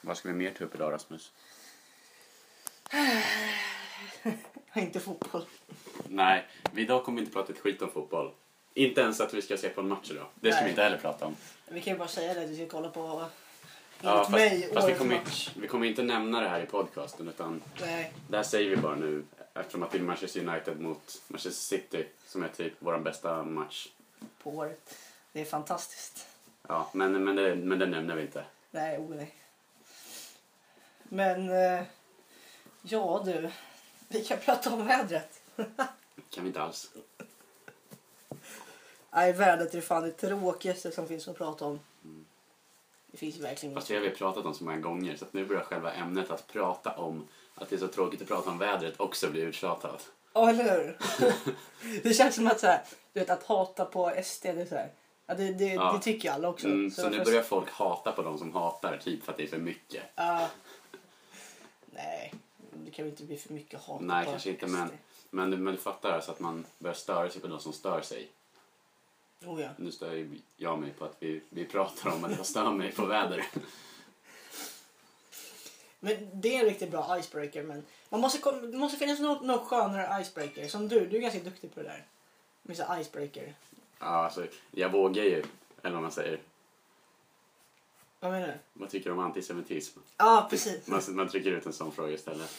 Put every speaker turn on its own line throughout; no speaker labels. Vad ska vi mer ta upp idag Rasmus?
Inte fotboll.
Nej, vi idag kommer inte prata ett skit om fotboll. Inte ens att vi ska se på en match idag. Det ska
Nej.
vi inte heller prata om.
Vi kan ju bara säga det att vi ska kolla på, enligt
Ja, fast,
mig,
fast vi,
årets
kommer,
match.
vi kommer inte nämna det här i podcasten utan
Nej,
det här säger vi bara nu eftersom att det är Manchester United mot Manchester City som är typ vår bästa match.
på året. Det är fantastiskt.
Ja, men, men, det, men det nämner vi inte.
Nej, o nej. Men, eh, ja du. Vi kan prata om vädret.
kan vi inte alls.
Nej, vädret är fan det tråkigaste som finns att prata om. Det finns ju verkligen
Fast det har vi pratat om så många gånger så att nu börjar själva ämnet att prata om att det är så tråkigt att prata om vädret också blir uttjatat.
Ja, eller hur? det känns som att så här, du vet, att hata på SD, det, är så här, ja, det, det,
Ja.
det tycker ju alla också.
Mm, så nu
varför-
börjar folk hata på de som hatar typ för att det är för mycket.
Ja. Ah. nej, det kan väl inte bli för mycket hat
Nej,
på
kanske inte
SD.
men, men, du- men du fattar alltså att man börjar störa sig på de som stör sig.
Oh, ja.
Nu stör ju jag mig på att vi, vi pratar om att jag stör mig på väder.
Men det är en riktigt bra icebreaker. Men man måste, kom- det måste finnas någon, någon skönare icebreaker. Som du, du är ganska duktig på det där. Med så här icebreaker.
Ja, alltså, jag vågar ju, eller vad man säger.
Vad menar du?
Vad tycker du om antisemitism?
Ja, precis.
Man, man trycker ut en sån fråga istället.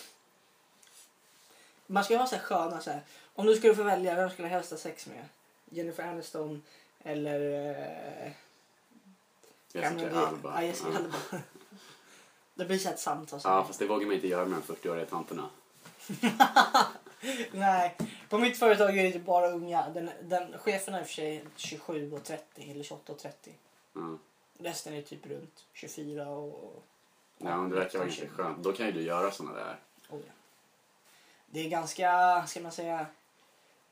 Man ska vara så här sköna så här. Om du skulle få välja, vem skulle du helst ha sex med? Jennifer Aniston eller... Eh,
Jessica
Cameron Diaz.
Alba.
Ja, Jessica
Ja.
Alba. Det blir så här ett samtal. Så
Ja,
här.
fast det vågar man inte göra med de 40-åriga tanterna.
Nej, på mitt företag är det bara unga. Den, den, cheferna är i och för sig 27 och 30 eller 28 och 30.
Ja.
Resten är typ runt 24 och...
Ja, men det verkar vara ganska skönt. Då kan ju du göra såna där.
Oh, ja. Det är ganska, ska man säga,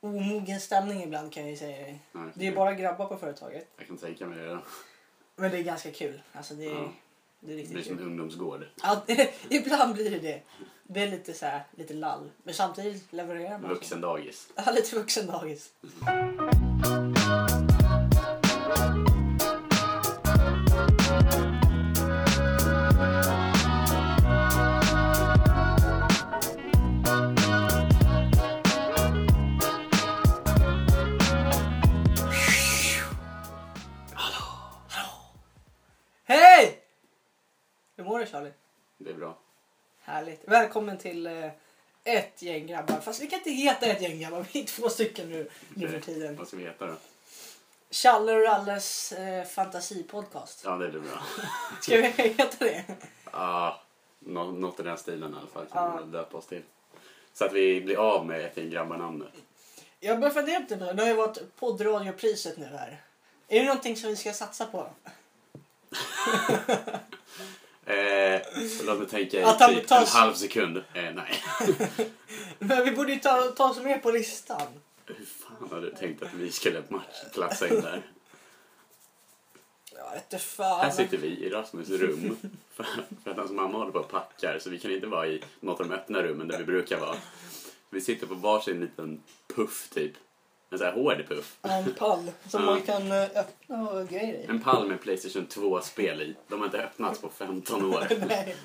omogen stämning ibland kan jag ju säga dig.
Ja,
Det är bara grabbar på företaget.
Jag kan tänka mig det. då.
Men det är ganska kul. Alltså det är,
Ja.
det är
Det blir
riktigt
som en
kul.
ungdomsgård.
Ja, ibland blir det det. Det är lite så här, lite lall. Men samtidigt levererar man.
Vuxendagis.
Ja, lite vuxendagis. Hej! Hur mår du Charlie?
Det är bra.
Härligt. Välkommen till eh, ett gäng grabbar. Fast vi kan inte heta ett gäng grabbar, vi är två stycken nu, nu för tiden.
Vad ska vi heta då?
Challe och Ralles eh, fantasipodcast.
Ja, det blir bra.
Ska vi heta det?
Ja, nå- något i den stilen i alla fall
Ja.
kan vi väl döpa oss till. Så att vi blir av med ett gäng grabbar-namnet.
Jag börjar fundera på det nu. Det har ju varit poddradiopriset nu här. Är det någonting som vi ska satsa på?
Eh, låt mig tänka i
Att han
typ
tar-
en halv sekund. Eh, nej.
Men vi borde ju ta, ta oss med på listan.
Hur fan hade du tänkt att vi skulle matchplatsa in där?
Jag vete fan.
Här sitter vi i Rasmus rum. För, för att hans mamma håller på och packar så vi kan inte vara i något av de öppna rummen där vi brukar vara. Vi sitter på varsin liten puff typ. En sån här hård puff.
En pall som
Ja.
man kan eh, öppna och grejer i.
En pall med Playstation 2-spel i. De har inte öppnats på 15 år.
Nej.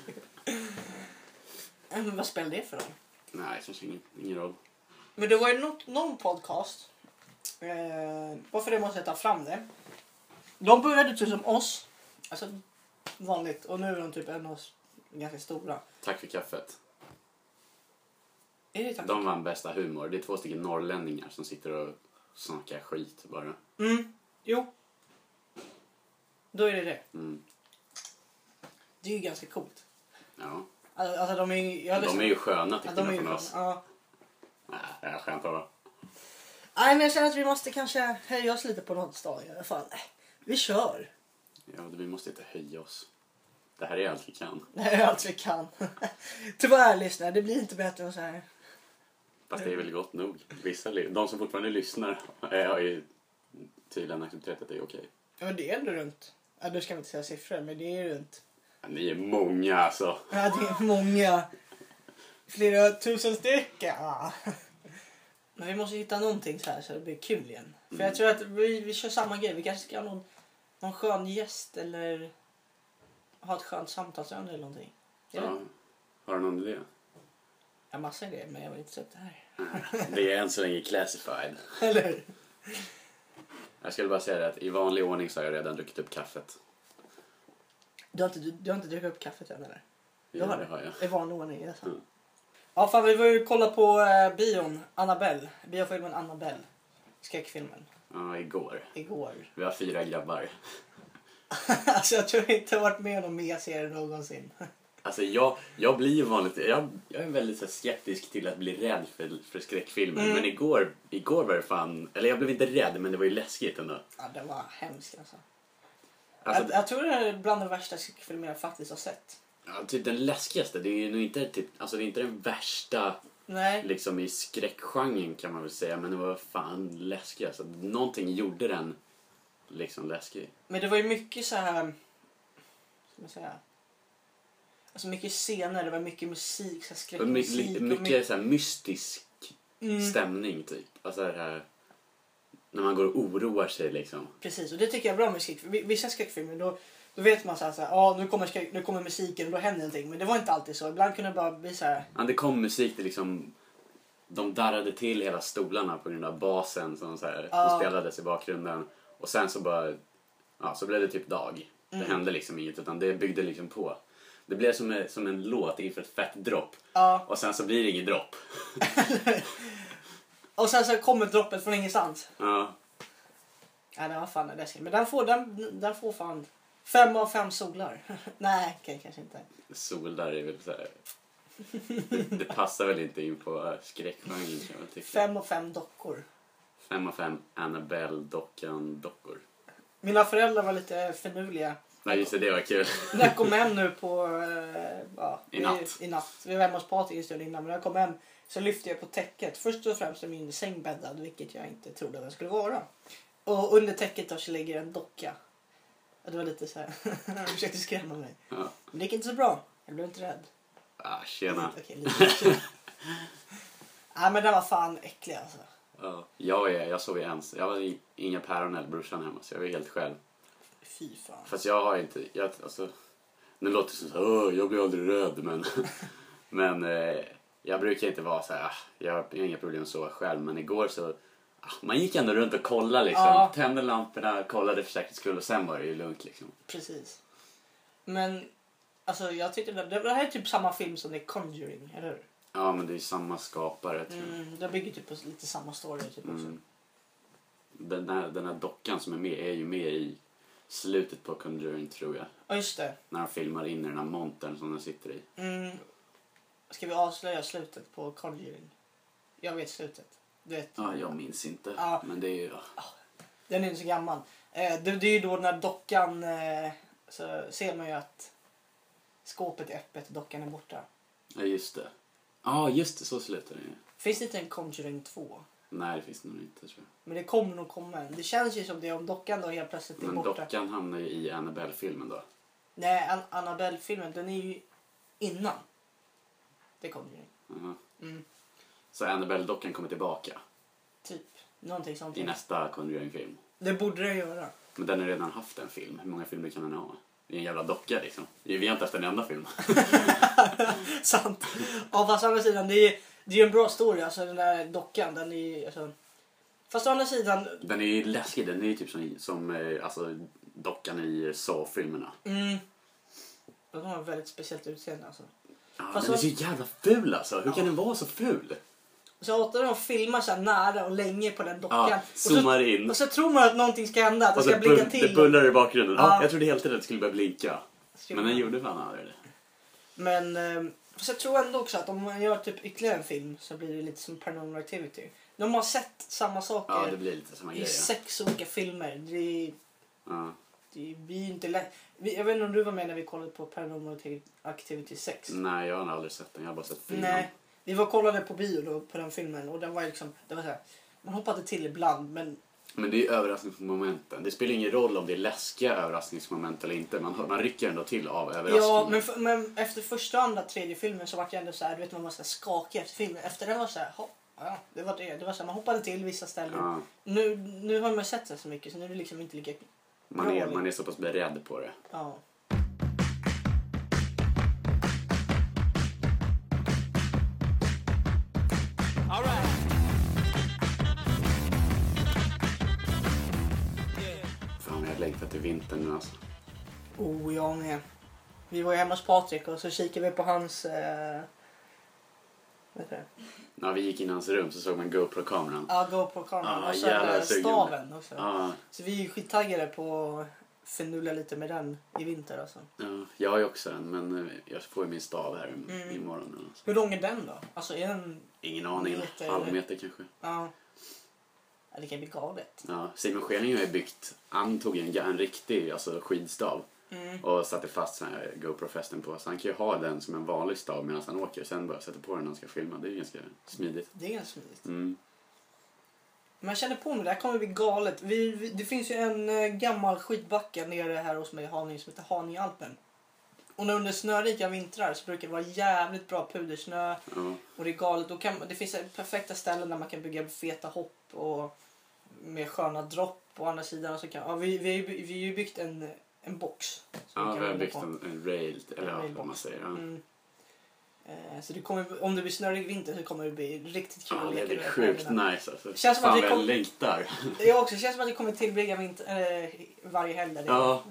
Men vad spelar det för roll?
Nej, kanske ingen, ingen roll.
Men det var ju något, någon podcast. Eh, varför det måste jag ta fram det. De började typ som oss. Alltså vanligt. Och nu är de typ en av oss ganska stora.
Tack för kaffet.
Är det tack?
De vann bästa humor. Det är två stycken norrlänningar som sitter och snackar skit bara.
Mm. Jo. Då är det det.
Mm.
Det är ju ganska coolt.
Ja.
Alltså, alltså de är ju... jag har
De
lyssnat-
är ju sköna till
ja, de är
skillnad från
ju sköna.
oss.
Ja.
Nej, jag skämtar bara.
Nej men jag känner att vi måste kanske höja oss lite på något dag i alla fall. Vi kör.
Ja, vi måste inte höja oss. Det här är allt vi kan.
Det här är allt vi kan. Tyvärr lyssnare, det blir inte bättre än så här.
Fast det är väl gott nog. Vissa, li- de som fortfarande lyssnar eh, har ju tydligen accepterat att det är okej.
Ja, men det är ändå runt. Ja, du ska inte säga siffror, men det är runt.
Ja, Ni är många alltså.
Ja, det är många. Flera tusen stycken. Ja. Men vi måste hitta någonting så här så det blir kul igen. För jag tror att vi, vi kör samma grej. Vi kanske ska ha någon, någon skön gäst eller ha ett skönt samtalsämne eller någonting. Är det?
Ja. Har du någon idé?
Jag har massa grejer men jag vill inte sätta det här.
Det är än så länge classified.
Eller hur?
Jag skulle bara säga det att i vanlig ordning så har jag redan druckit upp kaffet.
Du har inte, du, du har inte druckit upp kaffet än eller?
Ja,
har
det
det.
har jag.
I vanlig ordning, yes.
Mm.
Ja, fan vi var ju kolla på eh, bion, Annabelle. Biofilmen Annabelle. Skräckfilmen.
Ja, igår.
Igår.
Vi har fyra grabbar.
alltså jag tror inte jag varit med om någon mer serie någonsin.
Alltså jag, jag blir ju vanligt, jag, jag är väldigt så här skeptisk till att bli rädd för, för skräckfilmer. Men igår, igår var det fan, eller jag blev inte rädd men det var ju läskigt ändå.
ja, det var hemskt alltså.
Alltså,
jag, jag tror det är bland de värsta skräckfilmer jag faktiskt har sett.
ja, typ den läskigaste, det är ju nog inte, typ, alltså det är inte den värsta
Nej.
liksom i skräckgenren kan man väl säga. Men det var fan läskig alltså. Någonting gjorde den liksom läskig.
Men det var ju mycket så här... vad Ska man säga? Alltså mycket scener, det var mycket musik, så här
Och my-
skräckmusik.
li-
och
mycket så här mystisk
Mm.
stämning typ. Alltså det här när man går och oroar sig liksom.
Precis, och det tycker jag är bra med skräckfilmer. Vi- Vissa skräckfilmer, då, då vet man så här, så här ah, nu, kommer skräck, nu kommer musiken och då händer någonting. Men det var inte alltid så. Ibland kunde det bara bli så här,
Ja, det kom musik, det liksom de darrade till hela stolarna på grund av basen som, så här,
Ja.
som spelades i bakgrunden. Och sen så bara, ja så blev det typ dag.
Mm.
Det hände liksom inget utan det byggde liksom på. Det blev som, en- som en låt inför ett fett dropp.
ja.
Och sen så blir det inget dropp.
Och sen så kommer droppet från ingenstans.
Ja,
Ja, den var fan läskig. Men den får, den, den får fan fem av fem solar. Nej, okej, kanske inte.
sol där är väl så här. Det, det passar väl inte in på skräckgenren kan jag tycka.
Fem av fem dockor.
Fem av fem Annabelle-dockan-dockor.
Mina föräldrar var lite finurliga.
Nej just det, det var kul.
När jag kom hem nu på... Eh, ja,
I natt.
Vi, I natt. Vi var hemma hos Patrik en stund innan. Men när jag kom hem så lyfte jag på täcket. Först och främst är min säng bäddad, vilket jag inte trodde att den skulle vara. Och under täcket då så ligger en docka. Och det var lite så här... Han försökte skrämma mig.
Ja.
Men det gick inte så bra. Jag blev inte rädd.
Ah, tjena.
Okej, lite. Nej, men den var fan äcklig alltså.
Ja, jag, är, jag sov ju ens. Jag hade inga päron eller brorsan hemma så jag var helt själv.
Fy fan.
Fast jag har inte, jag, alltså. Nu låter det som såhär, jag blir aldrig rädd men. men eh, jag brukar inte vara så här, "Ah, jag har inga problem att sova själv. Men igår så, ah, man gick ändå runt och kollade liksom.
Ja.
Tände lamporna, kollade för säkerhets skull och sen var det ju lugnt liksom.
Precis. Men alltså jag tyckte det, det här är typ samma film som The Conjuring, eller hur?
Ja men det är ju samma skapare tror jag.
Mm, det bygger typ på lite samma story typ också.
Mm. Den, här, den här dockan som är med är ju med i slutet på Conjuring tror jag.
Ja just det.
När de filmar in i den här montern som den sitter i.
Mm. Ska vi avslöja slutet på Conjuring? Jag vet slutet. Du vet.
Ja, jag minns inte.
Ja.
Men det är ju...
Den är inte så gammal. Eh, det, det är ju då när dockan eh, så ser man ju att skåpet är öppet och dockan är borta.
Ja, just det. Ja, just det. Så slutar det ju.
Finns det inte en Conjuring 2?
Nej, det finns det nog inte tror
Men det kommer nog komma en. Det känns ju som det om dockan då helt plötsligt
jag.
är
Men
borta.
dockan hamnar ju i Annabelle-filmen då.
Nej, An- Annabelle-filmen den är ju innan. Det Conjuring.
Aha.
Mm.
Så Annabelle-dockan kommer tillbaka
Typ. Någonting sånt.
i nästa Conjuring-film.
Det borde den göra.
Men den har redan haft en film. Hur många filmer kan den ha? Det är en jävla docka liksom. Vi har inte haft en enda film.
Sant. Ja, fast å andra sidan, det är, det är ju en bra story. Alltså den där dockan, den är ju... Alltså... Fast å andra sidan,
Den är ju läskig. Den är ju typ som, som eh, alltså, dockan i Saw-filmerna.
mm, de har ett väldigt speciellt utseende alltså.
Ah,
Fast
den är
så-
så jävla ful alltså. Hur kan den vara så ful?
Så jag hatar när de filmar så här nära och länge på den dockan.
Ja,
och,
zoomar
så,
in.
och så tror man att någonting ska hända, att det ska
så
blinka
bul-
till.
Det bullrar i bakgrunden. Ja.
Ja. Typ.
jag trodde hela tiden att det skulle börja blinka.
Skulle
Men den
man.
gjorde fan aldrig det.
Men eh, fast jag tror ändå också att om man gör typ ytterligare en film så blir det lite som Paranormal Activity. De har sett samma saker
Ja, det blir lite samma
i
grej. ja.
sex olika filmer. Det är,
Ja.
det blir ju inte lätt. Vi- Jag vet inte om du var med när vi kollade på Paranormal Activity 6.
Nej, jag har aldrig sett den. Jag har bara sett filmen.
Nej, vi var och kollade på bio då, på den filmen och den var ju liksom, det var så här, man hoppade till ibland men
Men det är ju överraskningsmomenten. Det spelar ingen roll om det är läskiga överraskningsmoment eller inte. Man, man rycker ändå till av överraskningen.
Ja, men, f- men efter första, andra, tredje filmen så var jag ändå så här, du vet man var så här skakig efter filmen. Efter den var jag så här, "Ha, ja, det var det. det var så här, man hoppade till vissa ställen.
Ja,
Nu, nu har man sett det så mycket så nu är det liksom inte lika...
man, är, man är så pass beredd på det.
Ja.
alltså.
Oh, jag med. Vi var ju hemma hos Patrik och så kikade vi på hans... Eh... Vad heter det?
När vi gick in i hans rum så såg man GoPro-kameran.
Ja, GoPro-kameran
Ja,
och så
jävlar,
den där
jag är sugen.
staven också.
Ja,
Så vi är ju skittaggade på att finurla lite med den i vinter alltså.
ja, jag har ju också en men eh, jag får ju min stav här im-
Mm.
imorgon. Alltså.
Hur lång är den då? Alltså är den...
Ingen aning,
Meter.
en halv meter kanske.
Ja. ja det kan bli galet.
Ja, Simon Schening har ju byggt, han tog en, en riktig alltså, skidstav
Mm.
och satte fast sån här GoPro-fästen på. Så han kan ju ha den som en vanlig stav medan han åker och sen bara sätta på den när han ska filma. Det är ju ganska smidigt.
Det är ganska smidigt.
Mm.
Men jag känner på mig, det här kommer bli galet. Vi, vi, det finns ju en eh, gammal skidbacke nere här hos mig i Haninge som heter Haningealpen. Och när under snörika vintrar så brukar det vara jävligt bra pudersnö
Ja.
och det är galet. Då kan, det finns perfekta ställen där man kan bygga feta hopp och med sköna dropp på andra sidan. Och så kan, ja, vi, vi, har ju by- vi har ju byggt en, en box. som
Ja,
kan
vi har
rulla
byggt
på.
en, en rail, eller
En
ja,
railbox.
vad man säger. Ja.
Mm. Eh, Så det kommer, om det blir snörig vinter så kommer det bli riktigt kul
Ja, det
runt
blir
på
sjukt
vägarna.
nice alltså.
Känns som
Fan
att vi
vad jag
kom-
längtar.
Det är också, det känns som att vi kommer tillbringa vinter, eh, varje helg där.
Ja,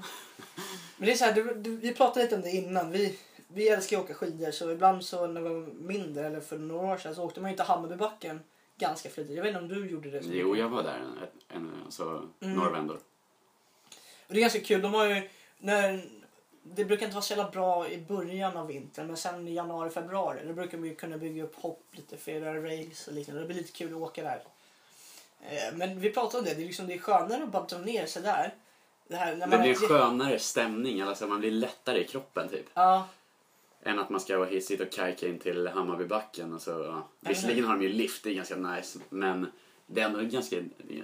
Men det är så här, du, du, vi pratade lite om det innan. Vi, vi älskar ju att åka skidor så ibland så när vi var mindre eller för några år sedan så åkte man ju till Hammarbybacken ganska flitigt. Jag vet inte om du gjorde det. så
jo
mycket.
jag var där en, en, alltså,
Mm.
några vändor.
Och det är ganska kul. De har ju, när, det brukar inte vara så jävla bra i början av vintern men sen i januari, februari då brukar man ju kunna bygga upp hopp lite för era rails och liknande. Det blir lite kul att åka där. Eh, Men vi pratade om det, det är, liksom, det är skönare att bara dra ner sig där. Det, här, när man
Det blir
är
en
jätte-
skönare stämning, alltså man blir lättare i kroppen typ.
Ja,
Än att man ska vara hissigt och kajka in till Hammarbybacken. Och så, ja. Visserligen har de ju lift, det är ganska nice. Men det är ändå en ganska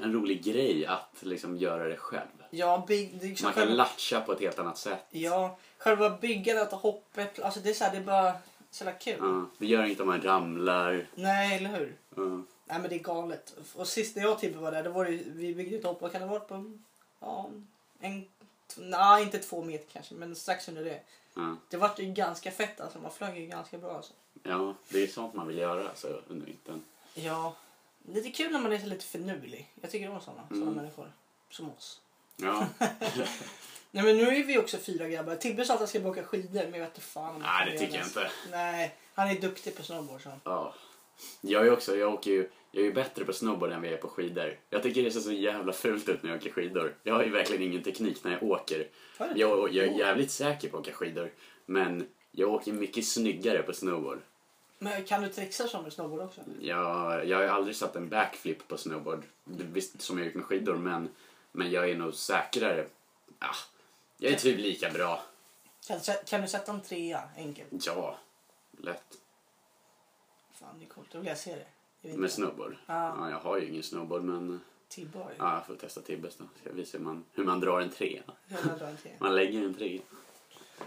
en rolig grej att liksom göra det själv.
ja, big, det är liksom
Man kan
själva-
latcha på ett helt annat sätt.
Ja, själva byggandet och hoppet. Alltså det är så här, det är bara så jävla kul.
Ja, det gör inget om man ramlar.
Nej, eller hur?
Ja.
Nej men det är galet. Och sist när jag och Tibbe var där, då var det, ju- vi byggde ett hopp, vad kan det ha varit på? Ja, en... t- Nej, inte två meter kanske, men strax under det.
Ja.
Det vart ju ganska fett alltså, man flög ju ganska bra alltså.
ja, det är sånt man vill göra alltså, under vintern.
Ja, lite kul när man är så lite finurlig. Jag tycker om sådana, sådana
Mm.
människor. Som oss.
Ja.
Nej men nu är vi också fyra grabbar. Tibbe sa att han ska åka skidor, men jag vet inte fan om han
Nej,
kan
det
göra
tycker jag inte.
Nej, han är duktig på snowboard så.
Ja. Jag är också, jag åker ju, jag är ju bättre på snowboard än vad jag är på skidor. Jag tycker det ser så jävla fult ut när jag åker skidor. Jag har ju verkligen ingen teknik när jag åker.
Har du?
Jag, jag är jävligt säker på att åka skidor, men jag åker mycket snyggare på snowboard.
Men kan du trixa som med snowboard också?
Jag, jag har ju aldrig satt en backflip på snowboard, visst som jag gjort med skidor, men, men jag är nog säkrare. Ah, jag är typ lika bra.
Kan, kan du sätta en trea enkelt?
Ja, lätt.
Fan det är coolt, då vill jag se det. Jag vet
Med
inte.
snowboard.
Ja.
Ja, jag har ju ingen snowboard, men
Tibbe har ju.
ja, jag får testa Tibbes då. Ska jag visa hur man, hur man drar en trea.
Hela dagen till.
Man lägger en trea.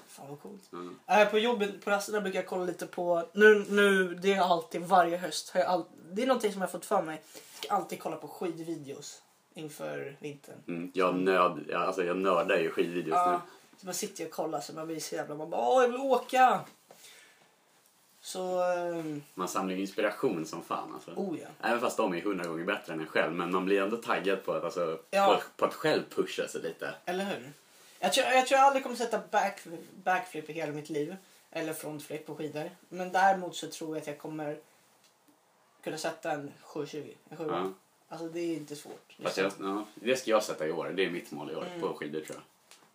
Fan vad coolt.
Mm.
Äh, på jobbet, på rasterna brukar jag kolla lite på, nu, nu det är alltid varje höst, har jag all, det är någonting som jag fått för mig. Jag ska alltid kolla på skidvideos inför vintern.
Mm. Jag, nöd, jag, alltså, jag nördar ju skidvideos
Ja,
nu.
så man sitter och kollar så man blir så jävla, man bara åh jag vill åka. Så, ehm,
Man samlar ju inspiration som fan alltså.
oh ja.
Även fast de är hundra gånger bättre än en själv. Men man blir ändå taggad på att, alltså,
Ja.
på, att- på att själv pusha sig lite.
Eller hur? Jag tror jag, tror jag aldrig kommer sätta back, backflip i hela mitt liv. Eller frontflip på skidor. Men däremot så tror jag att jag kommer kunna sätta en 720. En 7.
Ja.
Alltså det är inte svårt.
Fast jag, ja, det ska jag sätta i år. Det är mitt mål i år
Mm.
på skidor tror jag.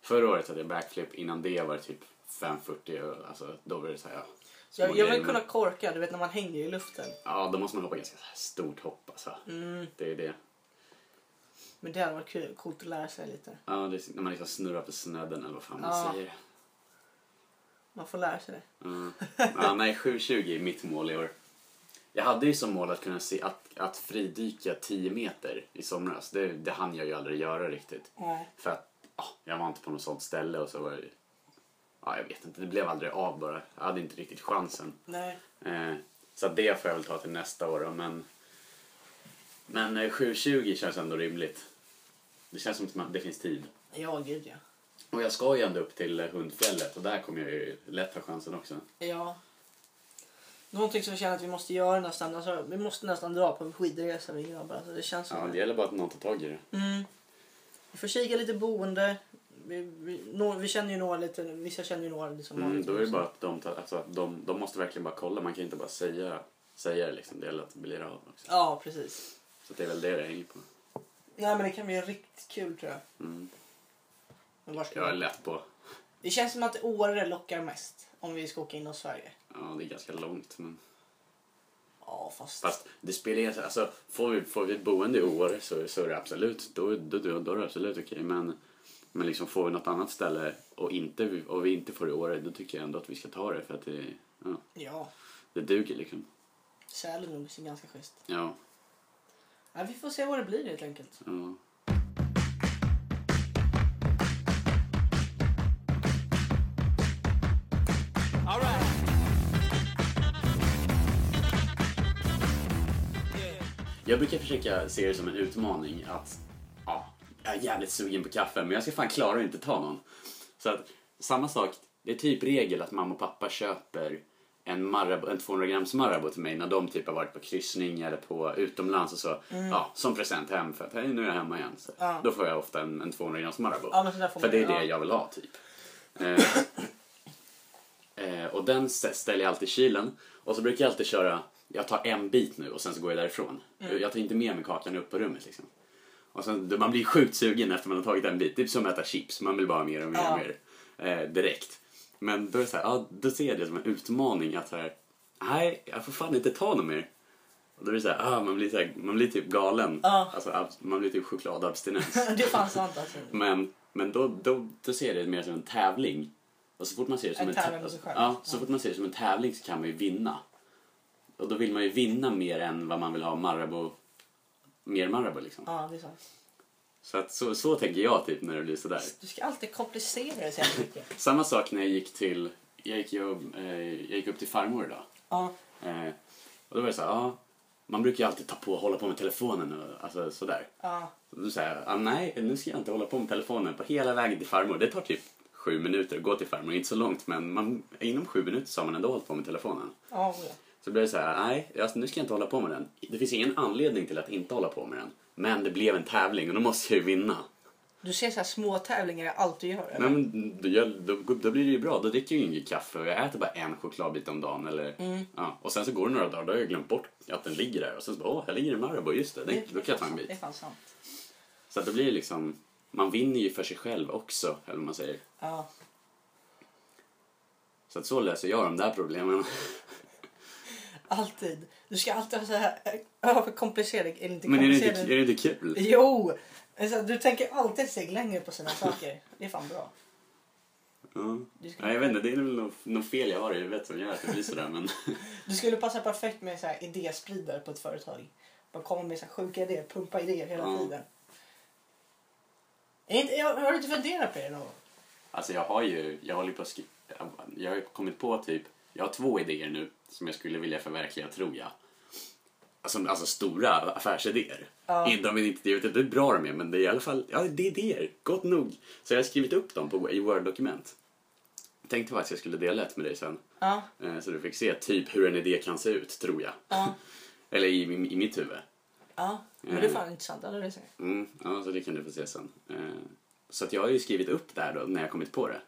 Förra året hade jag backflip. Innan det var det typ 540. och, Alltså, då var det så här, ja, små
jag, jag
grejer,
vill
men-
kunna korka, du vet när man hänger i luften.
Ja, då måste man hoppa ganska så här stort hopp alltså.
Mm.
Det är det.
Men det hade varit kul, coolt att lära sig lite.
Ja, det är, när man liksom snurrar på snöden eller vad fan
Ja.
man säger.
Man får lära sig det.
Mm. Ja, nej, 7.20 är mitt mål i år. Jag hade ju som mål att kunna se att, att fridyka 10 meter i somras. Det, det hann jag ju aldrig göra riktigt.
Nej.
För att ja, jag var inte på något sånt ställe och så var det... Ja, jag vet inte, det blev aldrig av bara. Jag hade inte riktigt chansen.
Nej.
Eh, så att det får jag väl ta till nästa år då, men... Men eh, 7.20 känns ändå rimligt. Det känns som att man, det finns tid.
Ja, gud ja.
Och jag ska ju ändå upp till eh, Hundfjället och där kommer jag ju lätt ha chansen också.
Ja. Någonting som jag känner att vi måste göra nästan. Alltså, vi måste nästan dra på en skidresa vi grabbar. Alltså, det känns Mm. som
Ja,
det.
det gäller bara att någon tar tag i det.
Mm. Vi får kika lite boende. vi, vi, nå- vi känner ju några lite, vissa känner ju några liksom.
Mm, då är det bara att de, tar, alltså, att de, de måste verkligen bara kolla. Man kan inte bara säga, säga det liksom. Det gäller att bli av också.
Ja, precis.
Så det är väl det det hänger på.
Nej men det kan bli riktigt kul tror jag.
Mm.
Men var ska
Jag är
vi-
lätt på.
Det känns som att Åre lockar mest om vi ska åka inom Sverige.
Ja, det är ganska långt. Men...
Ja fast...
Fast det spelar ingen alltså, får, vi, får vi ett boende i år så, så är det absolut, då, då, då, då är det absolut okej. Men, men liksom får vi något annat ställe och, inte, och vi inte får det i år, då tycker jag ändå att vi ska ta det. För att det, ja,
Ja,
det duger liksom.
Sälen nog ser ganska schysst.
Ja,
Ja, vi får se vad det blir helt enkelt.
ja.
All right.
Jag brukar försöka se det som en utmaning att ja, jag är jävligt sugen på kaffe men jag ska fan klara att inte ta någon. Så att samma sak, det är typ regel att mamma och pappa köper en, Marabou, en 200 grams Marabou till mig när de typ har varit på kryssning eller på utomlands och så. Ja, som present hem för att hej nu är jag hemma igen. Så
Mm. Ja.
Då får jag ofta en, en 200 grams Marabou.
Ja, men så där får
för
man-
det är det
ja.
jag vill ha typ. Eh, Eh, och den st- ställer jag alltid i kylen. Och så brukar jag alltid köra, jag tar en bit nu och sen så går jag därifrån. Jag-
Mm.
Jag tar inte med mig kakan upp på rummet liksom. Och sen, då- man blir sjukt sugen efter man har tagit en bit. Det är som att äta chips, man vill bara ha mer och mer och
Ja.
mer. Eh, direkt. Men då är det så här, ja, då ser jag det som en utmaning att så här, nej, jag får fan inte ta något mer. Och då är det så här, ah, man, blir så här, man blir typ galen.
Ja.
Alltså, abs- man blir typ chokladabstinens.
det är fan sant alltså.
Men, men då, då, då ser jag det mer som en tävling. Och så fort man ser det som
En
tä-
tävlan mot sig själv.
Ja, så fort man ser det som en tävling så kan man ju vinna. Och då vill man ju vinna mer än vad man vill ha Marabou. Mer Marabou liksom.
Ja, det är sant.
Så, att, så, så tänker jag typ när det blir sådär.
Du ska alltid komplicera det så jävla mycket.
Samma sak när jag gick till, jag gick, ju, eh, jag gick upp till farmor idag.
Ja,
Eh, och då var det så här, ja, man brukar ju alltid ta på, hålla på med telefonen och alltså, sådär.
ja.
Och Då säger jag, ah, nej nu ska jag inte hålla på med telefonen på hela vägen till farmor. Det tar typ sju minuter att gå till farmor, inte så långt men man, inom sju minuter så har man ändå hållit på med telefonen.
Ja, oh, ja.
Så blir det så här, nej alltså, nu ska jag inte hålla på med den. Det finns ingen anledning till att inte hålla på med den. Men det blev en tävling och då måste jag ju vinna.
Du ser så här små tävlingar jag alltid gör.
Nej,
eller?
men då, gör- då, då blir det ju bra, då dricker jag ju inget kaffe och jag äter bara en chokladbit om dagen. Eller, ja. Och sen så går det några dagar, då har jag glömt bort att den ligger där. Och sen så bara, åh, här ligger en Marabou, just det, det, då kan jag ta en bit.
Det är fan sant.
Så att det blir liksom, man vinner ju för sig själv också, eller vad man säger.
Ja.
Så att så löser jag de där problemen.
Alltid. Du ska alltid ha så här eh, överkomplicerad. Eller inte
Men är det inte,
komplicerad.
är det inte kul?
Jo! Alltså, du tänker alltid ett steg längre på sina saker. Det är fan bra.
Ja.
Du skulle,
Nej, jag vet inte, det är väl något, något fel jag har i huvudet som gör att det blir sådär. Men
du skulle passa perfekt med så här idéspridare på ett företag. Bara komma med så här sjuka idéer, pumpa idéer hela
Ja.
tiden. Är inte, jag, har du inte funderat på det någon gång?
alltså jag har ju, jag håller på att skri- jag har ju kommit på typ, jag har två idéer nu som jag skulle vilja förverkliga tror jag. Alltså, alltså stora affärsidéer.
Ja.
Inte om inte, jag vet inte hur bra de är men det är i alla fall, ja det är idéer, gott nog. Så jag har skrivit upp dem på, i Word-dokument. Tänkte faktiskt jag skulle dela ett med dig sen.
Ja.
Eh, Så du fick se typ hur en idé kan se ut, tror jag.
Ja.
Eller i, i, i mitt huvud.
Ja. Men det är fan intressant. Alla reser.
Mm, ja, så det kan du få se sen. Eh, Så att jag har ju skrivit upp där då, när jag kommit på det.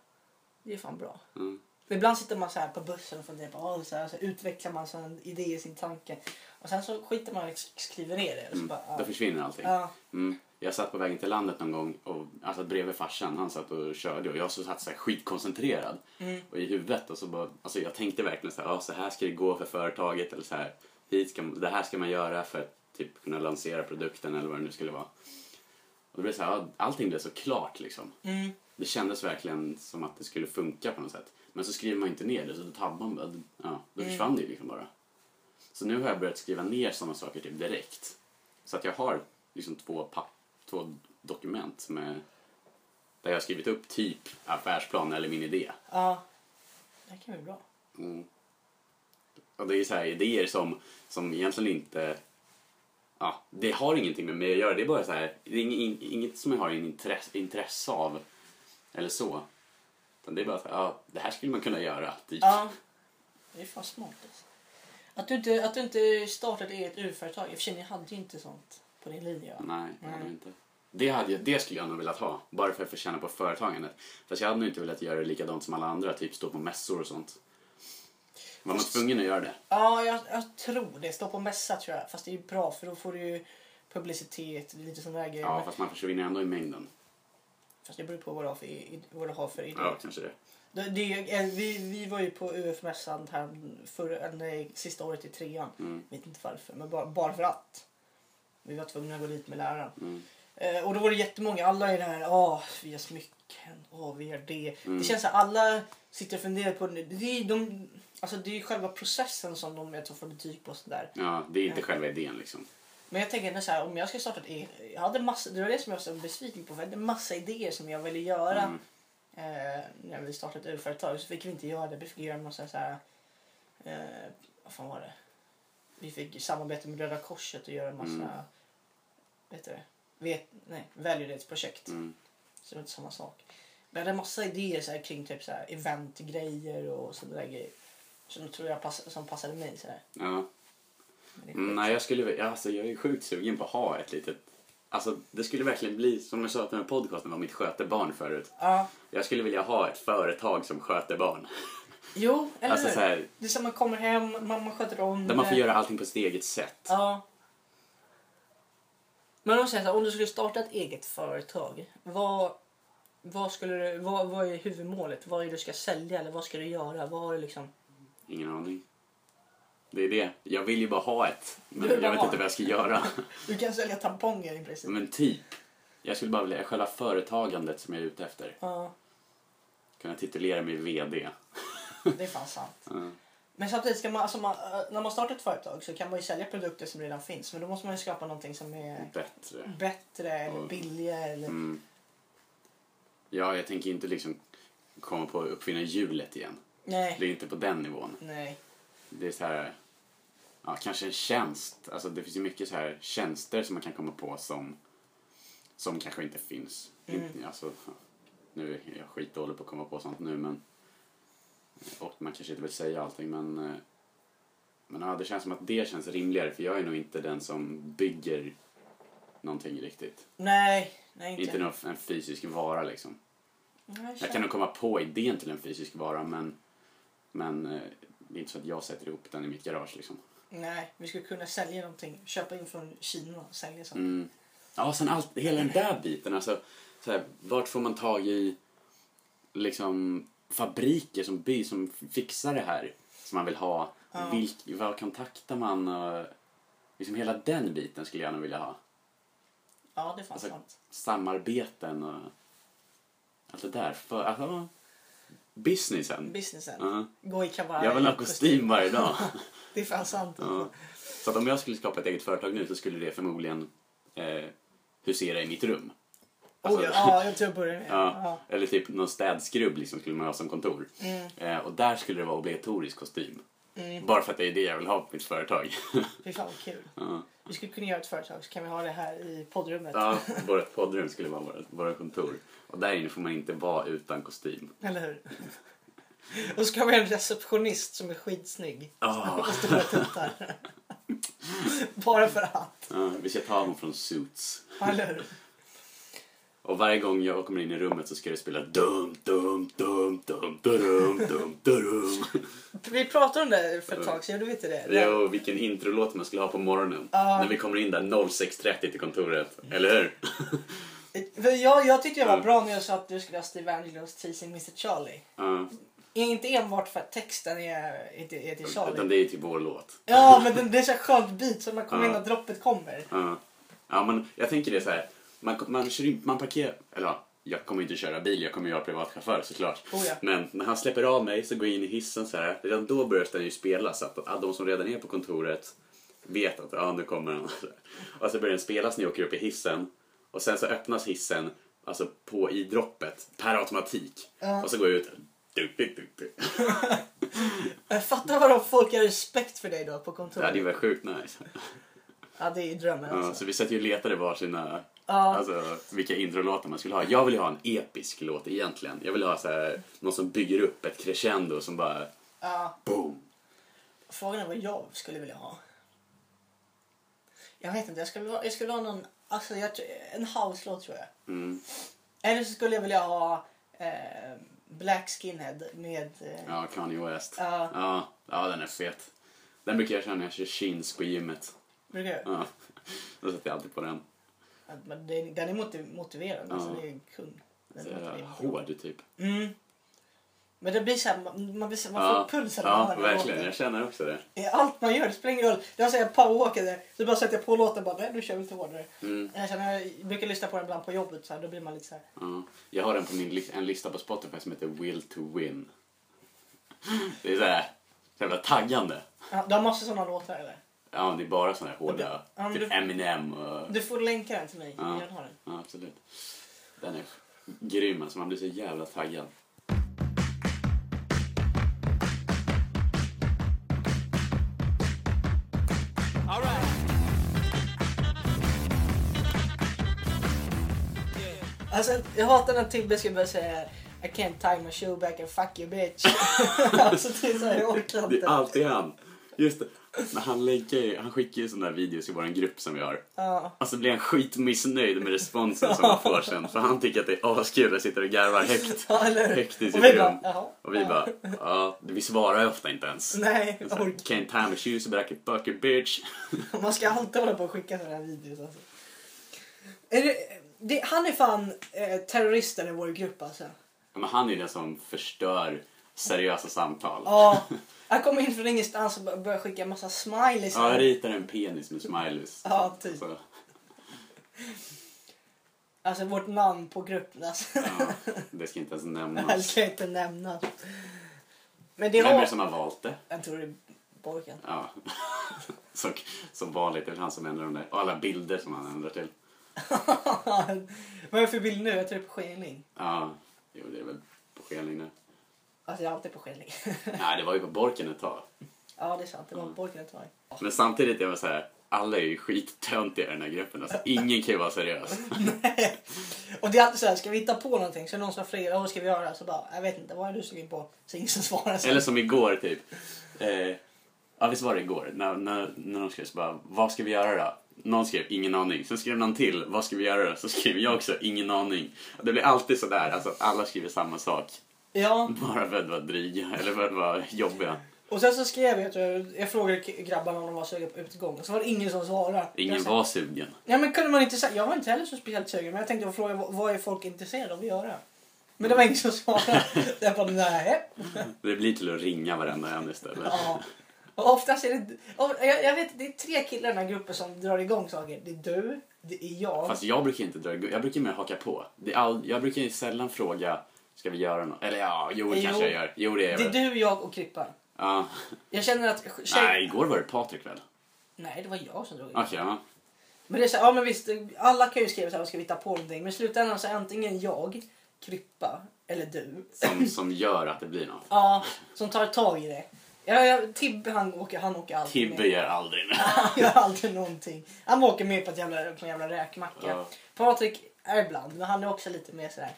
Det är fan bra.
Mm.
Ibland sitter man så här på bussen och funderar på oh, så, här, så utvecklar man så en idé i sin tanke. Och sen så skiter man i att sk- skriva ner det. Och så bara, ja.
Mm. Då försvinner allting.
Ja.
Mm. Jag satt på vägen till landet någon gång och alltså bredvid farsan, han satt och körde och jag så satt så här skitkoncentrerad
Mm.
och i huvudet och så bara, alltså jag tänkte verkligen så här, ah, så här ska det gå för företaget eller så här, hit ska, det här ska man göra för att typ kunna lansera produkten eller vad det nu skulle vara. Och det blev så här, ah, allting blev så klart liksom.
Mm.
Det kändes verkligen som att det skulle funka på något sätt. Men så skriver man inte ner det så då tappar man bara, ja, då försvann det ju liksom bara. Så nu har jag börjat skriva ner sådana saker typ direkt. Så att jag har liksom två, papp, två dokument med, där jag har skrivit upp typ affärsplan eller min idé.
ja. Det kan bli bra.
Och det är så här idéer som, som egentligen inte... Ja, det har ingenting med mig att göra. Det är bara så här, det är ing- inget som jag har en intresse, intresse av eller så. Utan det är bara så här, ja, det här skulle man kunna göra. Typ.
Ja. Det är fan smart alltså. Att du inte, att du inte startade eget urföretag. I och för sig, ni hade ju inte sånt på din linje va?
Nej, det har
Nej.
jag inte. Det, hade jag, det skulle jag nog velat ha, bara för att få känna på företagandet. Fast jag hade nog inte velat göra det likadant som alla andra, typ stå på mässor och sånt. Var man tvungen att göra det?
Ja, jag, jag tror det. Stå på mässa tror jag. Fast det är ju bra för då får du ju publicitet och lite sådana där grejer.
Ja,
Men-
fast man försvinner ändå i mängden.
Fast det beror på vad du har för, i- vad du har för idé.
Ja, kanske det.
Det, det, är ju- eh, vi, vi var ju på UF-mässan här för, eh, nej, sista året i trean.
Mm.
vet inte varför, men bara, bara för att. Vi var tvungna att gå dit med läraren.
Mm.
Eh, och då var det jättemånga, alla är det här, åh, vi gör smycken, åh, vi gör det.
Mm.
Det känns som alla sitter och funderar på det. Det är, de, alltså, det är ju själva processen som de jag tror, får betyg på. och Sådär.
Mm. Ja, det är inte
Ja.
själva idén liksom. Men
Men jag tänker ändå så här, om jag ska starta ett e- jag hade massa, Det var det som jag var så besviken på, för jag hade massa idéer som jag ville göra.
Mm.
Eh, när vi startade ett företag så fick vi inte göra det. Vi fick göra en massa så här, eh, vad fan var det? Vi fick samarbeta med Röda Korset och göra en massa,
Mm.
vet du det? Vet, nej, välgörenhetsprojekt.
Mm.
Så det var inte samma sak. Men jag hade massa idéer så här, kring typ så här, eventgrejer och sådana där grejer. Som tror jag pass, som passade mig. Så här.
Ja.
Men det är
Mm, Nej, jag, skulle, ja, alltså, jag är sjukt sugen på att ha ett litet... Alltså, det skulle verkligen bli, som jag sa att den här podcasten var mitt skötebarn förut.
Ja,
Jag skulle vilja ha ett företag som sköter barn.
jo, eller
Alltså,
hur?
så här,
Det är som man kommer hem, mamma sköter om
där man får
det.
göra allting på sitt eget sätt.
Ja. Men om, säger så här, om du skulle starta ett eget företag, vad, vad, skulle du, vad, vad är huvudmålet? Vad är det du ska sälja eller vad ska du göra? Vad har du liksom...
Ingen aning. Det är det. Jag vill ju bara ha ett. Men
Du
jag
vill bara
vet
ha
inte vad jag ska göra.
Du kan sälja tamponger i princip.
Men typ. Jag skulle bara vilja, själva företagandet som jag är ute efter.
Ja,
Kunna titulera mig VD.
det är fan sant.
Ja.
Men samtidigt, ska man, alltså man, eh, när man startar ett företag så kan man ju sälja produkter som redan finns. Men då måste man ju skapa någonting som är
Bättre.
bättre eller
Ja.
billigare. Eller...
Mm. Ja, jag tänker inte liksom komma på att uppfinna hjulet igen. Det
Nej.
är inte på den nivån.
Nej.
Det är så här, ja, kanske en tjänst. Alltså det finns ju mycket så här tjänster som man kan komma på som, som kanske inte finns.
Mm.
Inte- Alltså, ja, nu är jag skitdålig på att komma på sånt nu men, och man kanske inte vill säga allting men, eh, men ja, det känns som att det känns rimligare för jag är nog inte den som bygger någonting riktigt.
Nej. Nej, inte.
Inte någon, en fysisk vara liksom.
Nej,
Jag kan nog komma på idén till en fysisk vara men, men eh, det är inte så att jag sätter ihop den i mitt garage liksom.
Nej, vi skulle kunna sälja någonting. Köpa in från Kina och sälja sånt.
Mm. Ja, sen allt, hela den där biten alltså. Så här, vart får man tag i liksom fabriker som, by, som fixar det här som man vill ha?
Ja.
Vilk, vad kontaktar man? Och, liksom hela den biten skulle jag nog vilja ha.
Ja, det fanns
Alltså-
sant.
Samarbeten och allt det där. För, alltså, businessen.
Businessen.
Ja.
Gå i kavaj.
Jag vill ha kostym varje dag.
Det är fan sant. Alltså,
Ja. Så att om jag skulle skapa ett eget företag nu så skulle det förmodligen eh, husera i mitt rum.
Oj,
Alltså-
ja, jag tror jag börjar med.
Ja, eller typ någon städskrubb liksom skulle man ha som kontor.
Mm.
Eh, och där skulle det vara obligatorisk kostym.
Mm.
Bara för att det är det jag vill ha på mitt företag.
Fy fan vad kul.
ja.
Vi skulle kunna göra ett företag så kan vi ha det här i poddrummet.
ja, vårt poddrum skulle vara vårt, vårt kontor. Och där inne får man inte vara utan kostym.
Eller hur? Och så kan vi ha en receptionist som är skitsnygg.
Ah,
Och stora tuttar. Bara för att.
ja, vi ska ta honom från Suits.
Ja, Eller hur?
Och varje gång jag kommer in i rummet så ska det spela dum, dum, dum, dum, dum, dum, dum.
Vi pratade om det för ett tag sedan, gjorde vi inte det?
Jo, vilken introlåt man skulle ha på morgonen.
Ja.
När vi kommer in där 06.30 till kontoret. Eller hur?
För eh, jag, jag tyckte jag var
Ja.
bra när jag sa att du skulle ha Steve Angelos Teasing Mr Charlie.
Ja. inte
Inte enbart för att texten är, är, till, är till
Utan
Charlie.
det är typ vår låt.
Ja, men den- det är så här skönt beat så man kommer
Ja.
in och droppet kommer.
Ja. Ja, men jag tänker det så här. Man, man, kör in, man parkerar... Eller ja, jag kommer inte köra bil, jag kommer ju vara privatchaufför såklart.
Oh ja.
Men när han släpper av mig så går jag in i hissen så här. Redan då börjar den ju spela så att ja, de som redan är på kontoret vet att ja, nu kommer han. Och så börjar den spelas när jag åker upp i hissen. Och sen så öppnas hissen alltså på i droppet per automatik.
Ja.
Och så går jag ut. Du, du, du, du.
Jag fattar vad de folk har respekt för dig då på
Det hade ju
kontoret.
varit sjukt nice.
Ja, det är ju drömmen
Ja,
alltså.
så vi satt ju och letade varsina
Ja.
Alltså vilka introlåtar man skulle ha. Jag vill ju ha en episk låt egentligen. Jag vill ha så här, någon som bygger upp ett crescendo som bara
Ja,
boom.
frågan är vad jag skulle vilja ha. Jag vet inte, jag skulle, vilja- jag skulle vilja ha någon Alltså jag, tror- en house-låt tror jag.
Mm.
Eller så skulle jag vilja ha eh, Black Skinhead med... Eh,
Ja, Kanye West.
Ja.
Ja, ja, den är fet. Den brukar jag köra när jag kör chins på gymmet.
brukar jag-
Ja. Då sätter jag alltid på den.
Men den, den är moti- motiverad. Alltså,
Ja.
det är kung. Den
Så
är
jag är
motiverad.
hård typ.
Mm. Men det blir så här, man, man, blir så här, man får pulsen av
Ja,
den här
verkligen.
låten.
Jag känner också det.
I allt man gör, det spelar ingen roll. Jag säger powerwalkade, så bara sätter jag på låten och bara nej, nu kör vi lite hårdare.
Mm.
Jag, känner, jag brukar lyssna på den ibland på jobbet, så här, då blir man lite så här.
Ja. Jag har den på min li- en lista på Spotify som heter Will to Win. Det är så här, så jävla taggande.
Ja, du har massor sådana låtar eller?
Ja, det är bara såna här
Ja,
hårda.
men
Typ
du-
Eminem och...
Du får länka den till mig.
Ja.
Jag vill ha den.
Ja, absolut. Den är grym alltså. Man blir så jävla taggad.
All right. Alltså, jag hatar när Tibbe ska börja säga I can't tie my shoe back and fuck you bitch. alltså, det är så här, jag orkar
Det är
inte.
alltid han. Just det. Men han, länkar ju, han skickar ju såna där videos i vår grupp som vi har.
Ja.
Och så blir han skitmissnöjd med responsen som han får sen. För han tycker att det är askul och sitter och garvar högt.
Ja, eller hur?
Högt i
Och
sitt
vi bara,
rum.
jaha.
Och vi bara, ja, vi svarar ju ofta inte ens.
Nej, jag
Så här,
orkar
Can't time a shoes back a bucket bitch.
Man ska alltid hålla på och skicka sådana här videos. Alltså. Är det, det, han är fan eh, terroristen i vår grupp alltså.
Ja, Men han är den som förstör seriösa samtal.
Ja. Han kommer in från ingenstans och bör- börjar skicka en massa smileys.
Ja, jag ritar en penis med smileys.
Ja, typ.
Så,
Alltså vårt namn på gruppen alltså.
ja, det ska inte ens
Det
nämnas.
ska jag inte nämna. Men det
Vem är
har...
det Alltså. som har valt det?
Jag tror det är Borkan.
Ja. Så, som vanligt, det är han som ändrar de där. Och alla bilder som han ändrar till.
Vad är det för bild nu? Jag tror det är på Skenling.
Ja, jo det är väl på Skelning nu.
Alltså jag är alltid på Skenling.
Nej, det var ju på Borken ett tag.
ja det är sant, det var
Mm.
Borkan ett tag.
Men samtidigt, jag var så här, alla är ju skittöntiga i den här gruppen. Alltså, ingen kan ju vara seriös.
Och det är alltid så här, ska vi hitta på någonting? Så är det någon som har frågat, vad ska vi göra? Så bara, jag vet inte, vad är du sugen på? Så ingen som svarar. Så.
Eller som igår typ. Eh, ja visst var det igår? När, när, när de skrev så bara, vad ska vi göra då? Någon skrev ingen aning. Sen skrev någon till, vad ska vi göra då? Så skrev jag också, ingen aning. Det blir alltid sådär, alltså att alla skriver samma sak.
Ja,
Bara för att vara dryga eller för att vara jobbiga.
och sen så skrev jag, tror jag, jag frågade k- grabbarna om de var sugna på utgång. Och så var det ingen som svarade.
Ingen
Jag sa,
var sugen.
Nej men kunde man inte säga, jag var inte heller så speciellt sugen. Men jag tänkte fråga, vad- vad är folk intresserade av att göra? Men det var ingen som svarade. jag bara, nej.
Det blir till att ringa varenda en istället.
Ja. Och oftast är det, och jag, jag vet det är tre killar i den här gruppen som drar igång saker. Det är du, det är jag.
Fast jag brukar inte dra igång- jag brukar mer haka på. Det är all, jag brukar ju sällan fråga, ska vi göra något? Eller ja, jo det
Jo.
kanske jag gör. Jo det är
det är
jag väl.
du, jag och Krippan.
Ja.
Jag känner att tjej...
Nej, igår var det Patrik väl?
Nej, det var jag som drog igång.
Okej, ja.
Men det är så här, ja men visst, alla kan ju skriva så här, vad ska vi hitta på någonting? Men i slutändan så är antingen jag, Krippa eller du.
Som, som gör att det blir något.
Ja, som tar tag i det. Ja, ja, Tibbe han åker, han åker alltid
Tibbe
med.
gör aldrig det.
Han gör alltid någonting. Han åker med på, ett jävla, på en jävla räkmacka.
Ja.
Patrik är ibland, men han är också lite mer så här.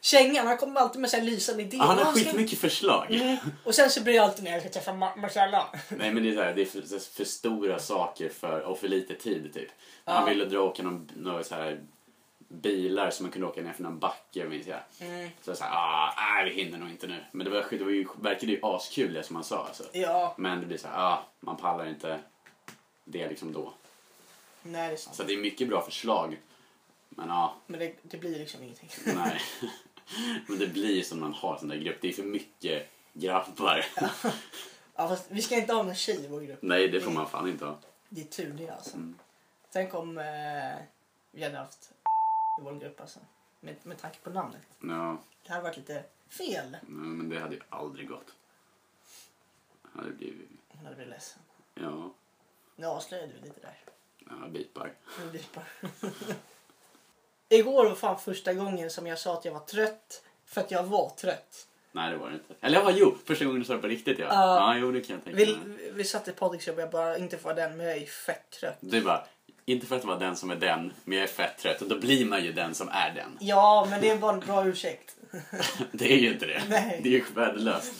Kängan, han kommer alltid med så här lysande idéer.
Ah, Han
Vad
har
ska-
skitmycket förslag.
Mm. Och sen så blir jag alltid när jag ska träffa Ma- Marcella.
Nej men det är, så här, det är för, så här, för stora saker för, och för lite tid typ. Han
Ja.
ville dra och åka någon, några så här bilar som man kunde åka ner för någon backe minns jag.
Mm.
Så jag sa ah, nej vi hinner nog inte nu. Men det, var, skit- det var ju, verkade ju askul det som han sa alltså.
Ja,
Men det blir så här, ah, man pallar inte det liksom då.
nej det är sant.
Så det är mycket bra förslag. Men ja, ah,
Men det, det blir liksom ingenting.
Nej. Men det blir som när man har en sån där grupp. Det är för mycket grabbar.
Ja, fast vi ska inte ha någon tjej i vår grupp.
Nej, det får man fan inte ha.
Det är tur det alltså.
Mm.
Tänk om eh, vi hade haft i vår grupp alltså. Med, med tanke på namnet.
Ja,
Det hade varit lite fel.
nej, men det hade ju aldrig gått. Det hade blivit...
Hon hade blivit ledsen.
Ja,
Nu avslöjade vi lite där.
ja bipar.
Nu blipar. Igår var fan första gången som jag sa att jag var trött. För att jag var trött.
Nej, det var det inte. Eller ja, jo, första gången du sa det på riktigt ja.
Ja.
Ja, jo, det kan jag tänka
Vi,
mig.
vi satt i Patriks jobb jag bara, inte för den, men jag är fett trött.
Du bara, inte för att vara den som är den, men jag är fett trött. Och då blir man ju den som är den.
Ja, men det är bara en bra ursäkt.
Det är ju inte det.
Nej.
Det är ju värdelöst.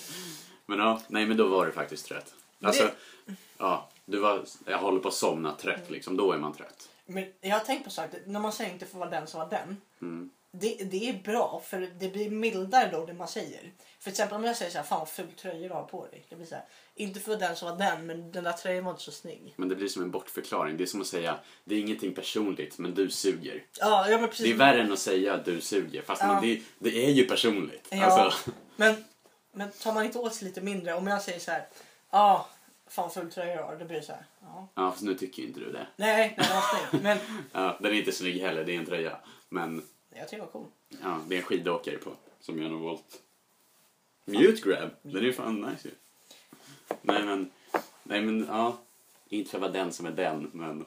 Men ja, nej men då var du faktiskt trött. Alltså,
Det-
ja, du var, jag håller på att somna trött liksom, då är man trött.
Men jag har tänkt på så här, att när man säger inte får vara den som var den.
Mm.
Det, det är bra för det blir mildare då det man säger. För till exempel om jag säger så här, fan vad ful tröja du har på dig. Det blir så här, inte för den som var den men den där tröjan var inte så snygg.
Men det blir som en bortförklaring. Det är som att säga, det är ingenting personligt, men du suger.
Ja, ja men precis.
Det är värre än att säga du suger, fast man, det, det är ju personligt.
Ja,
Alltså,
men, men tar man inte åt sig lite mindre? Om jag säger så här, ja, fan ful tröja du har. Det blir det så här, ja.
ja, fast nu tycker ju inte du det.
Nej, nej, den var snygg. Men
Ja, den är inte snygg heller, det är en tröja. Men
jag tycker det var cool.
ja, det är en skidåkare på, som jag har valt. Mute grab, den är ju fan nice ju. Nej men, nej men ja. Inte för att vara den som är den, men.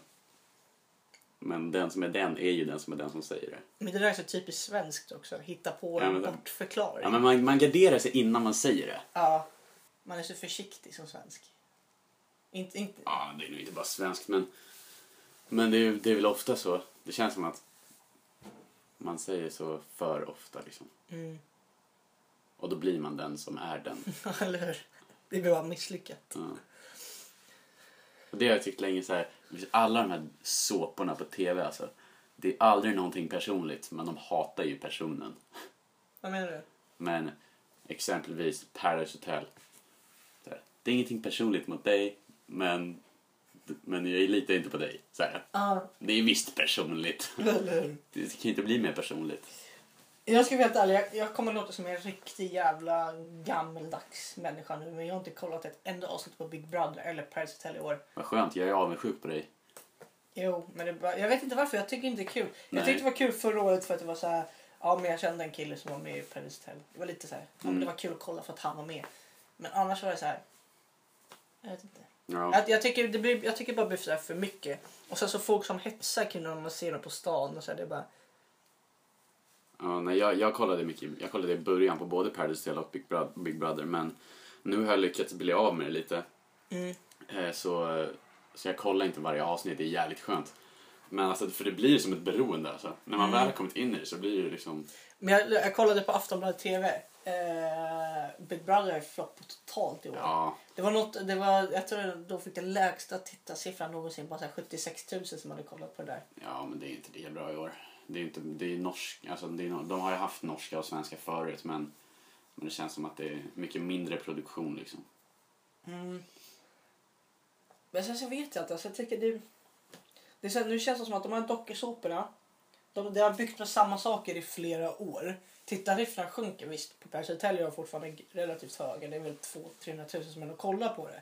Men den som är den är ju den som är den som säger det.
Men det där är så typiskt svenskt också. Hitta på
Ja,
en
men det-
bortförklaring.
Ja, men man, man garderar sig innan man säger det.
Ja, man är så försiktig som svensk. Inte, inte.
Ja, det är nog inte bara svenskt, men, men det, är, det är väl ofta så. Det känns som att man säger så för ofta. Liksom.
Mm.
Och då blir man den som är den.
Eller hur? Det blir bara misslyckat.
Ja. Och det har jag tyckt länge. Så här, alla de här såporna på tv, alltså, det är aldrig någonting personligt, men de hatar ju personen.
Vad menar du?
Men exempelvis Paradise Hotel. Så här, det är ingenting personligt mot dig, men, men jag litar inte på dig. Så här,
Ja,
det är visst personligt.
eller hur?
Det kan ju inte bli mer personligt.
Jag ska vara helt ärlig, jag, jag kommer låta som en riktig jävla gammeldags människa nu men jag har inte kollat ett enda avsnitt på Big Brother eller Paradise Hotel i år.
Vad skönt, jag är avundsjuk på dig.
Jo, men det är bara, jag vet inte varför. Jag tycker inte det är kul. Jag
Nej.
tyckte det var kul förra året för att det var så här. Ja, men jag kände en kille som var med i Paradise Hotel. Det var lite så här. Ja,
Mm.
men det var kul att kolla för att han var med. Men annars var det så här. Jag vet inte.
Ja.
Jag, jag, tycker, det blir, jag tycker bara det blir så här för mycket. Och sen så folk som hetsar kring när man ser dem på stan och så här, det är bara.
Ja, nej, jag, jag, kollade mycket, jag kollade i början på både Paradise Hotel och Big, Bro- Big Brother men nu har jag lyckats bli av med det lite.
Mm.
Eh, Så, så jag kollar inte varje avsnitt, det är jävligt skönt. Men alltså, för det blir som ett beroende alltså. När
Mm.
man väl har kommit in i det så blir det liksom...
Men jag, jag kollade på Aftonbladet TV. Eh, Big Brother floppade totalt i år.
Ja,
Det var något, det var, jag tror de fick den lägsta tittarsiffran någonsin. Bara så här 76 000 som hade kollat på det där.
ja men det är inte lika bra i år. Det är inte, det är norsk, alltså det är, no- de har ju haft norska och svenska förut men, men det känns som att det är mycket mindre produktion liksom.
Mm. Men sen så vet jag inte. Alltså, jag tycker det, det är så här, nu känns det som att de här dokusåporna. De, de har byggt på samma saker i flera år. Tittarsiffrorna sjunker visst. På Paradise Hotel är de fortfarande g- relativt höga. Det är väl 200-300 000 som ändå kollar på det.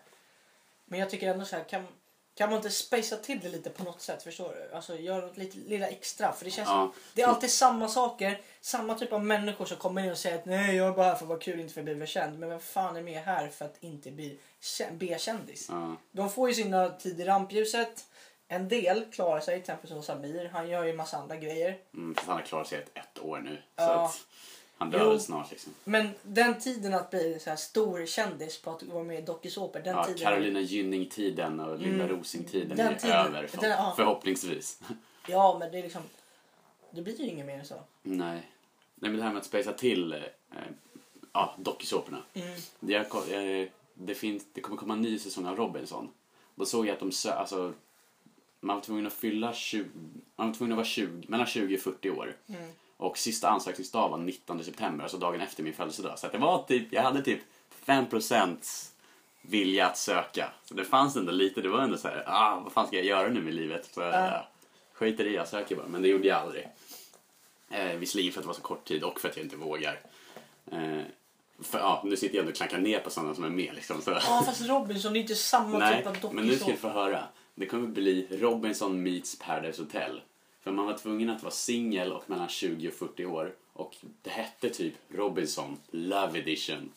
Men jag tycker ändå så här. Kan, kan man inte spacea till det lite på något sätt? Förstår du? Alltså gör något lite, lilla extra. För det känns
Ja.
Det är alltid samma saker. Samma typ av människor som kommer in och säger att nej jag är bara här för att vara kul inte för att bli bekänd. Men vem fan är med här för att inte bli kä- B-kändis?
Ja.
De får ju sina tid i rampljuset. En del klarar sig, till exempel som Samir. Han gör ju en massa andra grejer.
Mm, fast han har klarat sig ett, ett år nu. Så
Ja.
att han dör
Jo.
väl snart liksom.
Men den tiden att bli så här stor kändis på att vara med i dokusåpor. Den
Ja,
tiden. Mm.
Carolina Gynning-tiden och Linda Rosing-tiden
Den
är
tiden-
över för,
den- ja.
förhoppningsvis.
Ja, men det är liksom. Det blir ju inget mer än så.
Nej. Nej, men det här med att spacea till eh, eh, ja, dokusåporna.
Mm.
Det, jag ko- eh, det, finns, det kommer komma en ny säsong av Robinson. Då såg jag att de sö- alltså, man var tvungen att fylla 20, man var tvungen att vara 20, mellan 20 och 40 år.
Mm.
Och sista ansökningsdag var 19 september, alltså dagen efter min födelsedag. Så att det var typ, jag hade typ 5% vilja att söka. Så det fanns ändå lite, det var ändå så här, ah, vad fan ska jag göra nu med livet? Så jag
Ja.
skiter i, jag söker bara. Men det gjorde jag aldrig. Eh, visserligen för att det var så kort tid och för att jag inte vågar. Eh, för, ja, nu sitter jag ändå och klankar ner på sådana som är med liksom. Så.
Ja, fast Robinson det är inte samma
Nej,
typ av dokusåpa.
men nu ska du få höra. Det kommer bli Robinson meets Paradise Hotel. För man var tvungen att vara singel och mellan 20 och 40 år. Och det hette typ Robinson Love Edition.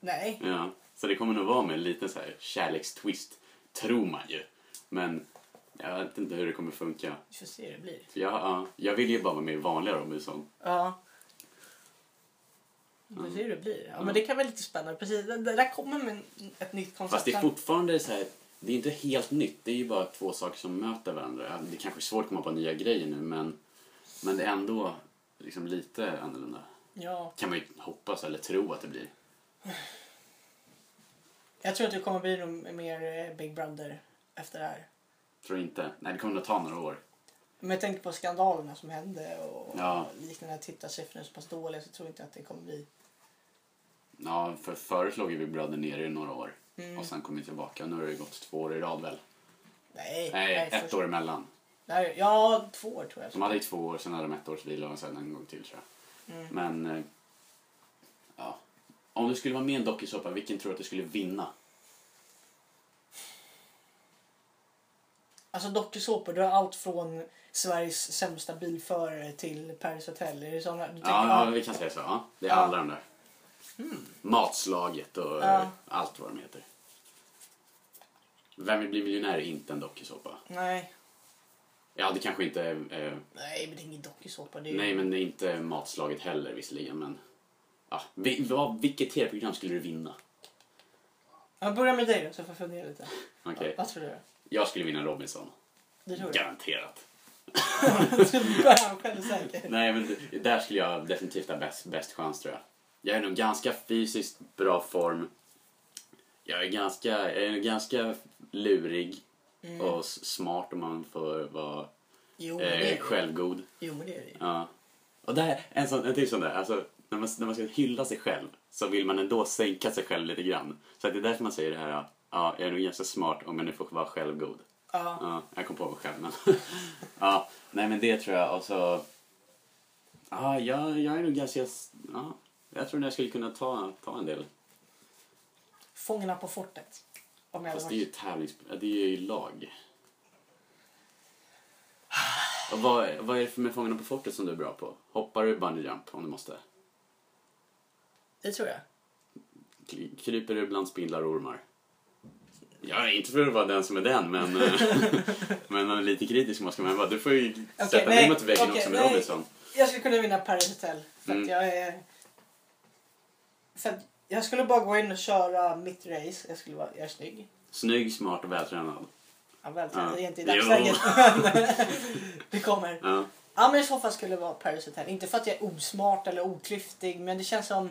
Nej.
Ja, så det kommer nog vara med en liten så här kärlekstwist. Tror man ju. Men jag vet inte hur det kommer funka.
Vi får se hur det blir.
För jag, ja, jag vill ju bara vara med i vanliga Robinson.
Ja. Vi
Mm.
får se hur det blir. Ja, men det kan vara lite spännande. Precis, det det där kommer med en- ett nytt koncept.
Fast det är fortfarande så här, det är inte helt nytt. Det är ju bara två saker som möter varandra. Ja, Det kanske är svårt att komma på nya grejer nu men, men det är ändå liksom lite annorlunda.
Ja.
Kan man ju hoppas eller tro att det blir.
Jag tror att det kommer bli nog mer eh, Big Brother efter det här.
Tror inte. Nej, det kommer nog ta några år.
Men jag tänker på skandalerna som hände och
Ja.
liknande tittarsiffror så pass dåliga så tror jag inte att det kommer bli.
Ja, för förut låg ju Big Brother nere i några år.
Mm.
Och sen kom vi tillbaka. Nu har det gått två år i rad väl?
Nej,
Nej, ett
först-
år Mm. emellan.
Nej, ja, två år tror jag.
De hade ju två år, sen hade de ett års vila och sen en gång till tror jag.
Mm.
Men, eh, ja. Om du skulle vara med i en dokusåpa, vilken tror du att du skulle vinna?
Alltså dokusåpor, du har allt från Sveriges sämsta bilförare till Paris Hotel. Är det sådana? Du tänker,
Ja, ja,
ja,
vi kan säga så. Ja. Det är
Ja. Hmm.
alla de där. Matslaget och eh,
Ja.
allt vad de heter. Vem vill bli miljonär är inte en dokusåpa.
nej,
Ja, det kanske inte... Eh,
nej, men det är ingen dokusåpa. Det är...
nej, men det är inte matslaget heller visserligen, men... Ja, vi, vad, vilket tv-program skulle du vinna?
Jag börjar med dig då, så får jag fundera lite.
Okej,
Vad tror du?
jag skulle vinna Robinson.
Det tror jag.
Garanterat.
Du börjar han självsäker.
Nej, men det- där skulle jag definitivt ha bäst, bäst chans tror jag. Jag är nog ganska fysiskt bra form. Jag är ganska, jag är nog ganska lurig och s- smart om man får vara
Jo, men det
eh,
är det.
självgod.
Jo, men det är det ju.
Ja. Och där, en, sån, en till sån där, alltså, när, man, när man ska hylla sig själv så vill man ändå sänka sig själv lite grann. Så att det är därför man säger det här, ja, jag är nog ganska smart om jag nu får vara självgod.
Ja.
Ja, jag kom på mig själv. Men ja, nej men det tror jag. Och så... Ja, jag, jag är nog ganska... Ja, jag tror att jag skulle kunna ta, ta en del.
Fångarna på fortet. Om jag hade
Fast det är ju
varit...
tävlings... ja, Det är ju lag. Och vad, vad är det för med Fångarna på fortet som du är bra på? Hoppar du bungee jump om du måste?
Det tror jag.
Kry- Kryper du bland spindlar och ormar? Ja, inte för att vara den som är den, men... eh, men man är lite kritisk måste man vara. Du får ju sätta dig
nej,
mot väggen
okej,
också med
nej.
Robinson.
Jag skulle kunna vinna Paris Hotel. För att
Mm.
jag är... För att jag skulle bara gå in och köra mitt race. Jag skulle vara... Jag är snygg.
Snygg, smart och vältränad.
Ja, vältränad.
Ja.
Det är inte i
Jo.
dagsläget. det kommer.
Ja.
Ja, men i så fall skulle det vara Paris Hotel. Inte för att jag är osmart eller oklyftig, men det känns som...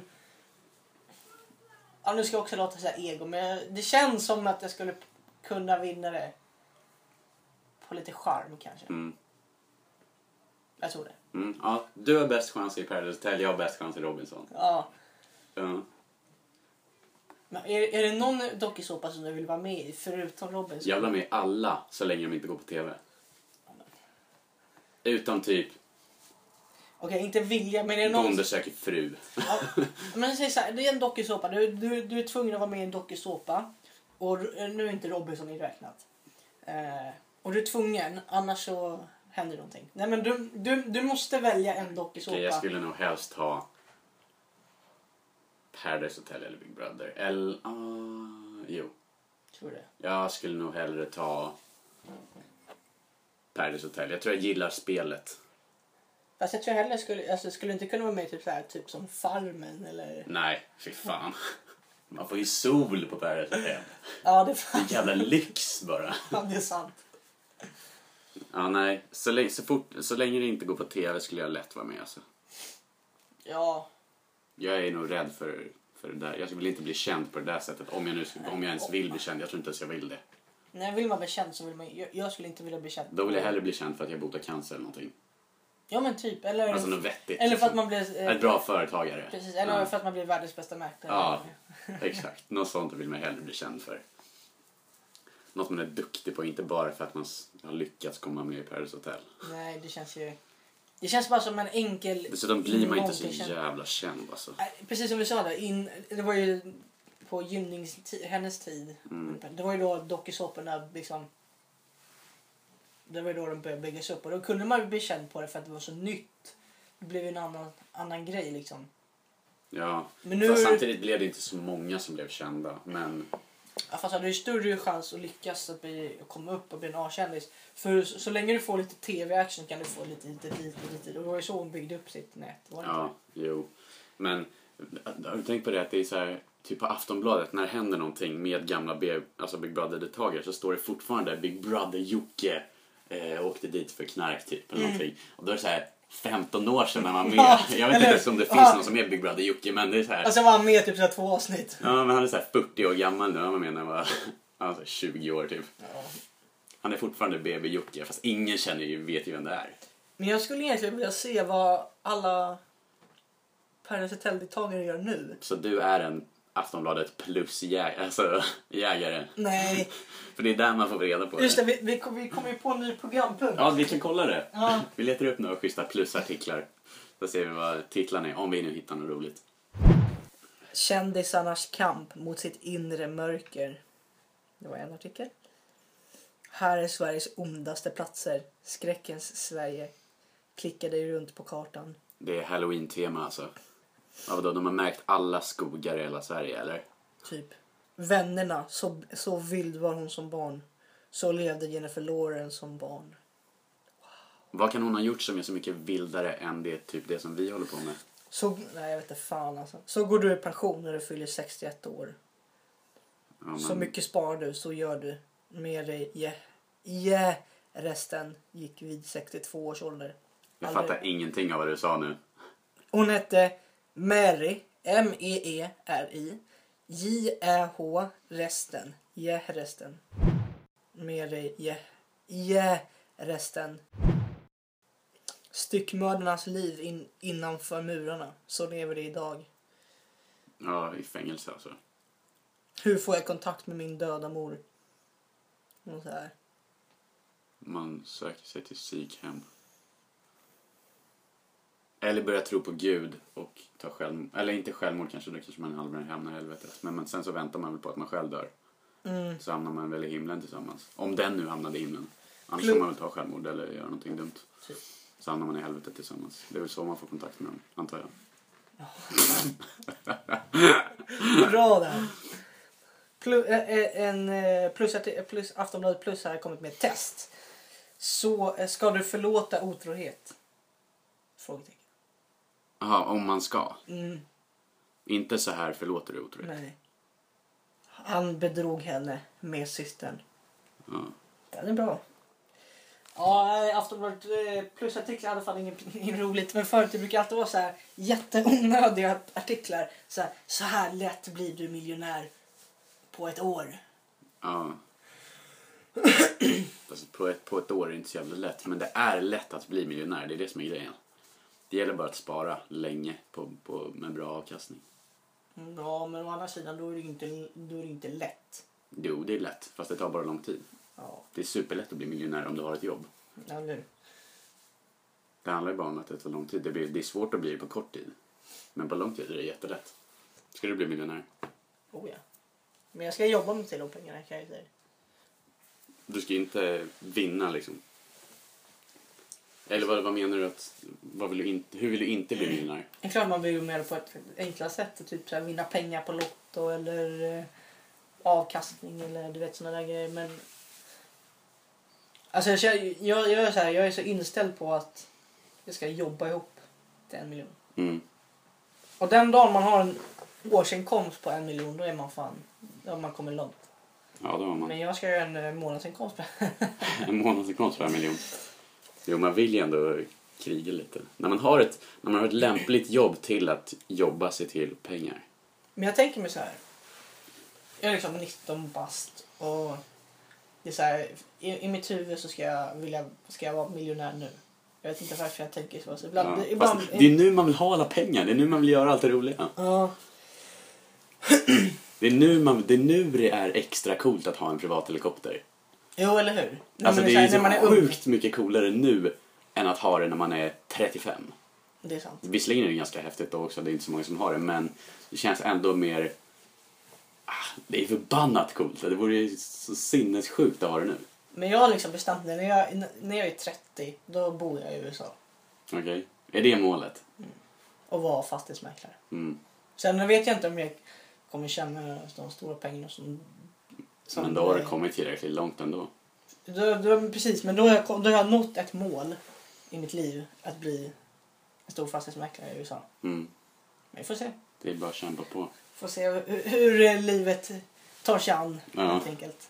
Ja, nu ska jag också låta så här ego, men jag- det känns som att jag skulle kunna vinna det. På lite charm kanske.
Mm.
Jag tror det.
Mm. Ja, du har bäst chans i Paradise Hotel, jag har bäst chans i Robinson.
Ja.
Ja.
Men är, är det någon dokusåpa som du vill vara med i förutom Robinson?
Jag vill ha med alla så länge de inte går på TV. Utom typ
Okej, inte vilja, men är det någon...
Bonde söker fru.
Ja, men säg så här, det är en dokusåpa. Du, du, du är tvungen att vara med i en dokusåpa. Och r- nu är inte Robinson inräknat. Eh, och du är tvungen, annars så händer någonting. Nej men du, du, du måste välja en dokusåpa.
Okej, jag skulle nog helst ha Paradise Hotel eller Big Brother. Eller, ah, jo.
Tror du det?
Jag skulle nog hellre ta Paradise Hotel. Jag tror jag gillar spelet.
Fast jag tror heller skulle, alltså, skulle inte kunna vara med i typ så här, typ som Farmen eller...
Nej, fy fan. Man får ju sol på Paradise Hotel.
Ja, det är fan,
Jävla lyx bara.
fan, det är sant.
Ja, nej. Så länge, så, fort, så länge det inte går på tv skulle jag lätt vara med. Alltså.
Ja,
Jag är nog rädd för, för det där. Jag vill inte bli känd på det där sättet. Om jag, nu, skulle- om jag ens vill bli känd. Jag tror inte ens jag vill det.
när vill man bli känd så vill man jag, jag skulle inte vilja bli känd.
Då vill jag hellre bli känd för att jag botar cancer eller någonting.
Ja men typ, eller...
Alltså något vettigt.
eller för
liksom.
att man blir... eh,
Ett bra företagare.
Precis, eller
ja.
för att man blir världens bästa mäklare.
Ja, exakt. Något sånt vill man hellre bli känd för. Något man är duktig på, inte bara för att man s- har lyckats komma med i Paris Hotel.
Nej, det känns ju... Det känns bara som en enkel...
Dessutom blir man inte så
ingång till känd-
jävla känd alltså.
Nej, Precis som vi sa där, in, det var ju på Gynnings ti- hennes tid.
Mm.
Det var ju då dokusåporna liksom... Det var ju då de började byggas upp och då kunde man ju bli känd på det för att det var så nytt. Det blev ju en annan, annan grej liksom.
Ja.
Men
Men
nu-
samtidigt blev det inte så många som blev kända. Men
Ja, Fast hade ju större chans att lyckas att, bli, att komma upp och bli en A-kändis. För så, så länge du får lite tv-action kan du få lite, lite, lite, lite. Och det var ju så hon byggde upp sitt nät. Var det inte
Ja, jo. Men har du tänkt på det att det är så här, typ på Aftonbladet när det händer någonting med gamla B, alltså Big Brother-deltagare så står det fortfarande Big Brother-Jocke eh, åkte dit för knark typ eller någonting. Och då är det så här 15 år sedan när man var med.
Ja,
Jag vet
eller
inte
hur?
ens om det
Ja.
finns någon som är Big Brother-Jocke men det är så här.
Och sen var han med i typ så här två avsnitt.
alltså Ja, men han är så här 40 år gammal nu. Han var med när han var, han var så här 20 år typ. Han är fortfarande BB Jocke fast ingen känner ju, vet ju vem det är.
Men jag skulle egentligen vilja se vad alla Paradise Hotel-deltagare gör nu.
Så du är en Aftonbladet plus jä- alltså, jägare.
Nej,
För det är där man får reda på
just det. Vi, vi, kom, vi kom ju på en ny programpunkt.
Ja, vi kan kolla det.
Ja.
Vi letar upp några schyssta plusartiklar. Så ser vi vad titlarna är, om vi nu hittar något roligt.
Kändisarnas kamp mot sitt inre mörker. Det var en artikel. Här är Sveriges ondaste platser. Skräckens Sverige. Klicka dig runt på kartan.
Det är halloween-tema alltså. Ja, vadå, de har märkt alla skogar i hela Sverige, eller?
Typ. Vännerna. Så, så vild var hon som barn. Så levde Jennifer Lawrence som barn.
Vad kan hon ha gjort som är så mycket vildare än det, typ, det som vi håller på med?
Så, nej, jag vet inte fan alltså. Så går du i pension när du fyller 61 år.
Ja, men,
Så mycket sparar du, så gör du. Med dig, yeah. Yeah. Resten gick vid 62 års ålder.
jag
Aldrig-
fattar ingenting av vad du sa nu.
Hon hette Mary, E M-E-E-R-I, J-Ä-H, resten, J resten. Mary, J, J resten. Styckmördarnas liv in, innanför murarna, så lever det idag.
Ja, i fängelse alltså.
Hur får jag kontakt med min döda mor? Och så här.
Man söker sig till psykhem. Eller börjar tro på Gud och ta självmord. Eller inte självmord kanske, då kanske man halvar hamnar i helvetet. Men man, sen så väntar man väl på att man själv dör.
Mm.
Så hamnar man väl i himlen tillsammans. Om den nu hamnade i himlen. Annars
Plus-
får man väl ta självmord eller göra någonting dumt.
Typ.
Så hamnar man i helvetet tillsammans. Det är väl så man får kontakt med dem, antar jag.
Bra där! Plus, en, eh, plus, att- plus, Aftonbladet Plus har kommit med ett test. Så eh, ska du förlåta otrohet? Frågetecken.
Jaha, om man ska.
Mm,
Inte så här förlåter du otroligt.
nej. Han bedrog henne med systern.
Ja.
Den är bra. Ja, eh, Aftonbladet eh, Plus artiklar i alla fall inget, inget roligt. Men förut det brukar alltid vara så här jätteonödiga artiklar. Så här, så här lätt blir du miljonär på ett år.
Ja. Fast på ett, på ett år är det inte så jävla lätt. Men det är lätt att bli miljonär, det är det som är grejen. Det gäller bara att spara länge på, på, med bra avkastning.
Mm, Ja, men å andra sidan då är det inte, då är det inte lätt.
Jo, det är lätt, fast det tar bara lång tid.
Ja,
Det är superlätt att bli miljonär om du har ett jobb.
eller hur?
Det handlar ju bara om att det tar lång tid. Det, blir, det är svårt att bli det på kort tid. Men på lång tid är det jättelätt. Ska du bli miljonär?
Oh ja. Men jag ska jobba mig till de pengarna kan jag ju säga.
Du ska ju inte vinna liksom. Eller vad, vad menar du att... Vad vill du inte, hur vill du inte bli miljonär?
Det är klart man vill ju mer på ett enklare sätt. Typ så här, vinna pengar på Lotto eller eh, avkastning eller du vet sådana där grejer. Men... Alltså jag, känner- jag, jag, är så här, jag är så inställd på att jag ska jobba ihop till en miljon.
Mm.
Och den dagen man har en årsinkomst på en miljon då är man fan, då har man kommit långt.
Ja, det har man.
Men jag ska göra en eh, månadsinkomst på
En månadsinkomst per miljon. Jo, man vill ju ändå kriga lite. När man har ett, när man har ett lämpligt jobb till att jobba sig till pengar.
Men jag tänker mig så här. Jag är liksom 19 bast och det är så här, i, i mitt huvud så ska jag, vilja, ska jag vara miljonär nu. Jag vet inte varför jag tänker så. så ibland,
Ja.
ibland,
Fast det är nu man vill ha alla pengar. Det är nu man vill göra allt det roliga.
Ja,
Det är nu, man, det, är nu det är extra coolt att ha en privat helikopter.
jo, eller hur? När
Alltså,
man
det
så
är
här,
ju så
när man är ung.
sjukt mycket coolare nu än att ha det när man är 35.
Det är sant.
Visserligen är det ganska häftigt då också, det är inte så många som har det, men det känns ändå mer... Ah, Det är förbannat coolt. Det vore ju så sinnessjukt att ha det nu.
Men jag har liksom bestämt mig. När jag, när jag är 30 då bor jag i USA
Okej. Är det målet?
och var fastighetsmäklare.
Mm.
Sen vet jag inte om jag kommer tjäna de stora pengarna som... som
Men då har du kommit tillräckligt långt ändå.
Då, då, precis, men då har, jag, kom- då har jag nått ett mål i mitt liv att bli en stor fastighetsmäklare i USA.
Mm.
Men vi får se.
Det är bara att kämpa på.
Får se hur, hur eh, livet tar sig an
Ja.
helt enkelt.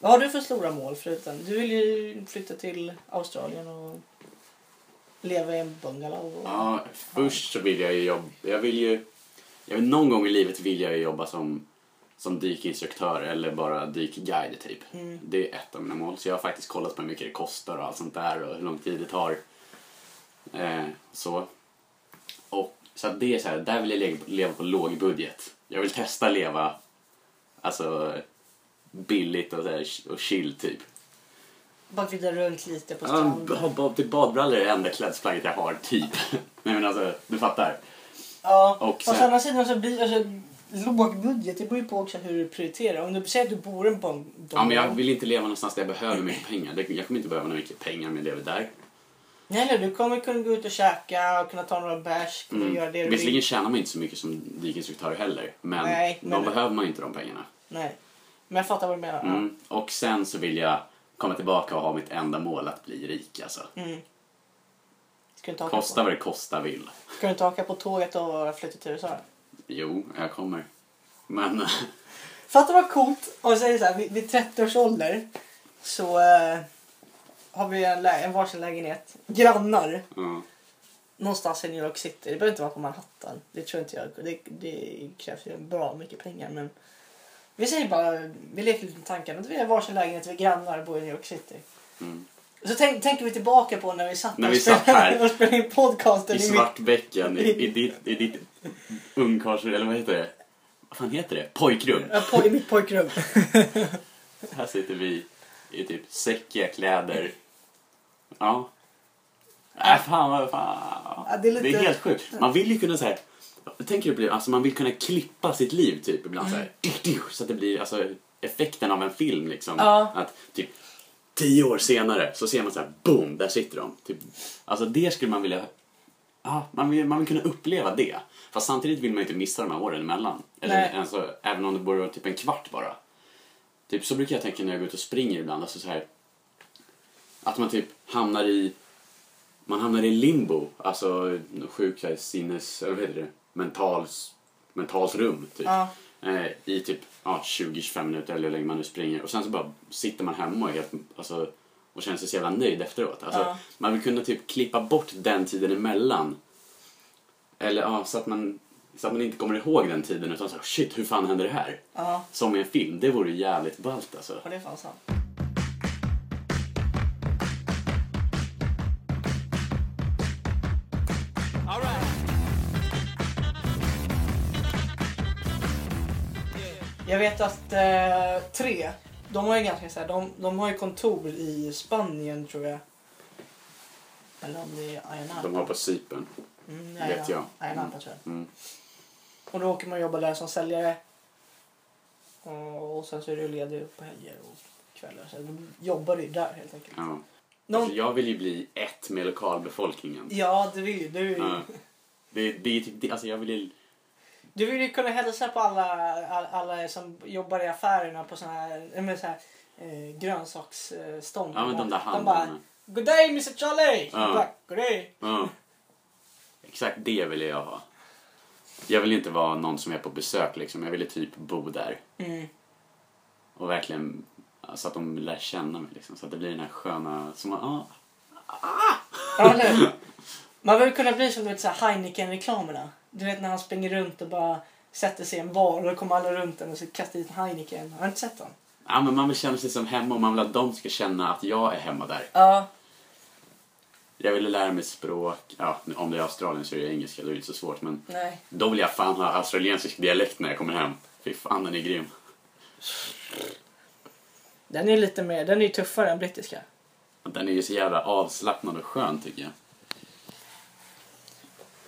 Vad har du för stora mål förutom? Du vill ju flytta till Australien och leva i en bungalow. Och...
Ja, först så vill jag ju jobba... Jag vill ju... Jag vill, någon gång i livet vill jag ju jobba som som dykinstruktör eller bara dykguide typ.
Mm.
Det är ett av mina mål. Så jag har faktiskt kollat på hur mycket det kostar och allt sånt där och hur lång tid det tar. Eh, så. Och, så att det är så här, där vill jag le- leva på låg budget. Jag vill testa leva alltså billigt och, så här, och chill typ.
Bara glida runt lite på
Ja,
stranden.
ba- ba- typ badbrallor är det enda klädesplagget jag har, typ. Nej men alltså, du fattar.
Ja,
Och
och
sen-
sen... å andra sidan så blir alltså, låg budget, det beror ju på också hur du prioriterar. Om du säger att du bor på en
Ja men jag vill inte leva någonstans där jag behöver mycket pengar. Det- Jag kommer inte behöva mycket pengar om jag lever där.
Nej, nej, du kommer kunna gå ut och käka och kunna ta några bärs, kunna göra det du
Mm. Visserligen
vill.
tjänar man inte så mycket som dykinstruktör heller, men,
Nej,
de
men-
behöver man ju inte de pengarna.
Nej. Men jag fattar vad du menar.
Mm. Och sen så vill jag komma tillbaka och ha mitt enda mål att bli rik alltså.
Ja. Mm. Ska du inte haka
Kosta
på,
vad det kosta vill.
ska du inte haka på tåget och flytta till USA?
Jo, jag kommer. Men
Fattar vad coolt om vi säger så här, vid, vid 30 års ålder så eh, har vi en, lä- en varsin lägenhet, grannar,
ja.
någonstans i New York City. Det behöver inte vara på Manhattan. Det tror inte jag. Det, det krävs ju bra mycket pengar. Men vi säger bara, vi leker lite med tanken att vi har varsin lägenhet, vi är grannar och bor i New York City.
Mm.
Så tänk, tänker vi tillbaka på när vi satt,
När
och
vi satt här.
och spelade in podcasten.
i
i mitt-
Svartbäcken, i, i ditt, i ditt ungkars... Eller vad heter det? Vad fan heter det? Pojkrum.
ja, på, I mitt pojkrum.
Här sitter vi i typ säckiga kläder. Ja. Äh, fan vad fan.
Ja, det är lite-
helt sjukt. Man vill ju kunna så här. Tänker du på det? Alltså man vill kunna klippa sitt liv typ ibland så här. Diu, diu, Så att det blir alltså effekten av en film liksom.
Mm. Ja.
Att typ tio år senare så ser man så här boom, där sitter de. Typ. Alltså det skulle man vilja. Ja, man vill, man vill kunna uppleva det. Fast samtidigt vill man ju inte missa de här åren emellan.
Nej.
Eller, alltså, även om det borde vara typ en kvart bara. Typ så brukar jag tänka när jag går ut och springer ibland. Alltså så här, att man typ hamnar i man hamnar i limbo. Alltså sjuk så här, sinnes... Eller vad heter det? Mentals, mentalsrum typ.
Ja.
Eh, I typ ja, 20-25 minuter eller hur länge man nu springer. Och sen så bara sitter man hemma och, är helt, alltså, och känner sig så jävla nöjd efteråt. Alltså,
Ja.
Man vill kunna typ klippa bort den tiden emellan. Eller ja, så att man, så att man inte kommer ihåg den tiden utan så här, shit hur fan hände det här?
ja,
Som i en film, det vore jävligt ballt alltså.
och det är fan sant. Jag vet att eh, tre, de har ju ganska så här, de, de har ju kontor i Spanien tror jag. Eller om det är Ayanapa.
De har på Cypern.
mm,
vet jag.
Ayanapa tror jag.
Mm.
Och då åker man jobba där som säljare. Och, och sen så är du ledig på helger och kvällar. Så då jobbar du ju där helt enkelt.
Ja.
Någon,
Alltså, jag vill ju bli ett med lokalbefolkningen.
ja, det vill ju du. vill ju-
Ja. Det, det är typ det, alltså jag vill ju...
Du vill ju kunna hälsa på alla, alla, alla som jobbar i affärerna på såna här, äh, men så här eh, grönsaksstånd.
Ja men de där
De bara,
handlarna.
Good day Mr Charlie!
Ja.
Ja. Bara, Good day!
Ja. Exakt det vill jag ha. Jag vill inte vara någon som är på besök liksom. Jag ville typ bo där.
Mm.
Och verkligen så att de lär känna mig liksom. Så att det blir den här sköna, som man, ah,
Ja, eller hur? Man vill kunna bli som du vet, så här Heineken-reklamerna. Du vet när han springer runt och bara sätter sig i en bar och då kommer alla runt den och så kastar dit en Heineken. Har du inte sett den?
ja men man vill känna sig som hemma och man vill att de ska känna att jag är hemma där.
Ja.
Jag ville lära mig språk, ja nu- om det är Australien så är det engelska, då är det inte så svårt men
Nej.
då vill jag fan ha australiensisk dialekt när jag kommer hem. Fy fan den är grym.
Den är lite mer, den är ju tuffare än brittiska.
Den är ju så jävla avslappnad och skön tycker jag.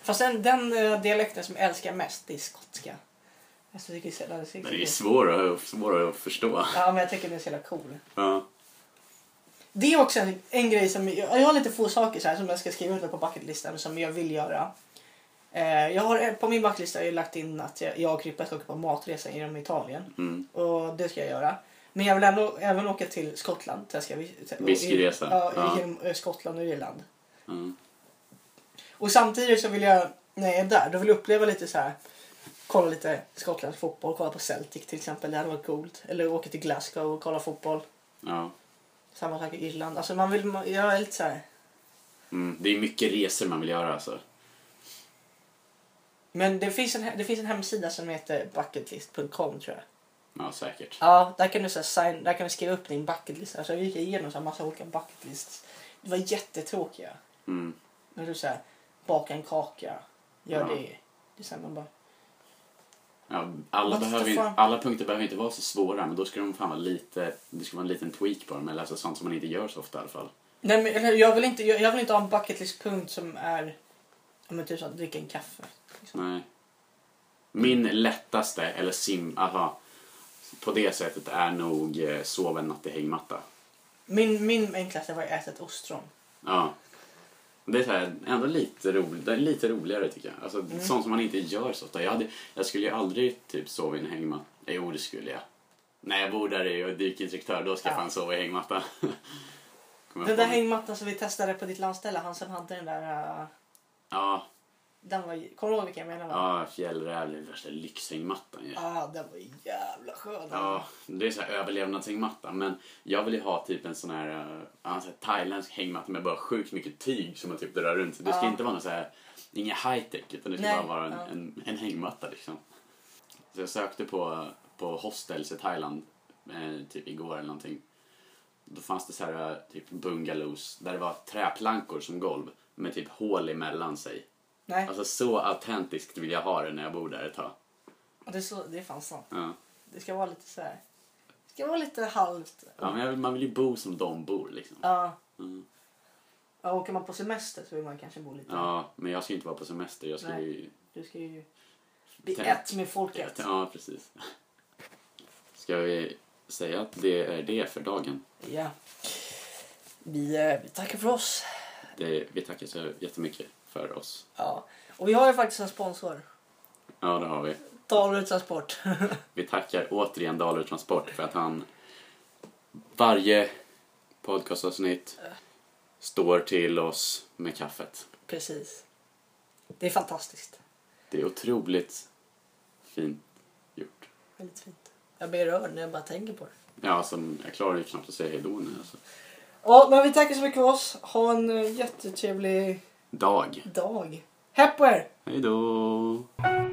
Fast den, den eh, dialekten som jag älskar mest, det är skotska. Jag tycker det är så jävla-
Den är ju svår att, svår att förstå.
Ja, men jag tycker den är så jävla cool.
Ja.
Det är också en, en grej som... Jag jag har lite få saker så här som jag ska skriva under på bucketlistan som jag vill göra. Eh, jag har, på min bucketlista har jag lagt in att jag, jag och Krippa ska åka på matresa genom Italien.
Mm.
Och det ska jag göra. Men jag vill ändå, även åka till Skottland. Så jag ska, vi- och-
Whiskyresa.
Ja,
Ja.
genom eh, Skottland och Irland.
Mm.
Och samtidigt så vill jag, när jag är där, då vill jag uppleva lite så här. Kolla lite Skottlands fotboll, kolla på Celtic till exempel. Det hade varit coolt. Eller åka till Glasgow och kolla fotboll.
Ja.
Samma sak i Irland. Alltså man vill, man- jag är lite så här.
Mm. Det är mycket resor man vill göra alltså.
Men det finns en, det finns en hemsida som heter bucketlist.com tror jag.
Ja, säkert.
Ja, där kan du, så här, sign, där kan du skriva upp din bucketlist. Alltså, jag gick igenom så här, massa olika bucketlists. Det var jättetråkiga.
Mm.
När du säger baka en kaka, gör
Ja.
det. Det är så här, man bara,
Ja, alla,
What the
behöver, in-
fuck?
alla punkter behöver inte vara så svåra, men då ska de fan vara lite, det ska vara en liten tweak på dem, eller alltså sånt som man inte gör så ofta i alla fall.
Nej, men, eller, jag, vill inte, jag, jag vill inte ha en bucketlist-punkt som är ja, men, typ så att dricka en kaffe.
Nej. Min lättaste, eller sim, aha, på det sättet är nog eh, sov en natt i hängmatta.
Min, min enklaste var att äta ett ostron.
Ja. Det är så här, ändå lite, rolig, det är lite roligare tycker jag. Alltså,
Mm.
Sånt som man inte gör så ofta. Jag, hade, jag skulle ju aldrig typ sova i en hängmatta. Jo, det skulle jag. När jag bor där i och är dykinstruktör, då ska jag
Ja.
fan sova i hängmatta. Kommer jag
Den där
på nu.
hängmattan som vi testade på ditt landställe, han som hade den där... eh,
Ja,
den var, kommer du ihåg vilken jag menar? va?
ja fjällräv, det är värsta lyxhängmattan ju.
Ah, den var jävla skön.
Ja, det är så här överlevnadshängmatta. Men jag vill ju ha typ en sån här, eh, ja, så här thailändsk hängmatta med bara sjukt mycket tyg som man typ drar runt. Det ska
Ja.
inte vara någon så här, inga high tech utan det ska
Nej,
bara vara en,
ja.
en, en hängmatta liksom. Så jag sökte på, på hostels i Thailand eh, typ igår eller någonting. Då fanns det så här eh, typ bungalows där det var träplankor som golv med typ hål emellan sig.
Nej,
Alltså så autentiskt vill jag ha det när jag bor där ett tag.
det, är så, det är fan sant.
Ja.
Det ska vara lite så här... Det ska vara lite halvt.
Ja, men jag vill, man vill ju bo som de bor liksom.
Ja.
Mm.
Ja, åker man på semester så vill man kanske bo lite...
Ja, men jag ska ju inte vara på semester. Jag ska
Nej.
ju...
Du ska ju bli
Tänk-
ett med folket.
Ja, precis. Ska vi säga att det är det för dagen?
Ja. Vi, eh, vi tackar för oss.
Det, vi tackar så jättemycket för oss.
Ja. Och vi har ju faktiskt en sponsor.
Ja, det har vi.
Dalarö Transport.
Vi tackar återigen Dalarö Transport för att han varje podcastavsnitt står till oss med kaffet.
Precis. Det är fantastiskt.
Det är otroligt fint gjort.
Väldigt fint. Jag blir rörd när jag bara tänker på det.
Ja, alltså, jag klarar ju knappt att säga hejdå nu. Alltså.
Ja, men vi tackar så mycket för oss. Ha en eh, jättetrevlig
Dag.
dag. Hej på er!
Hejdå!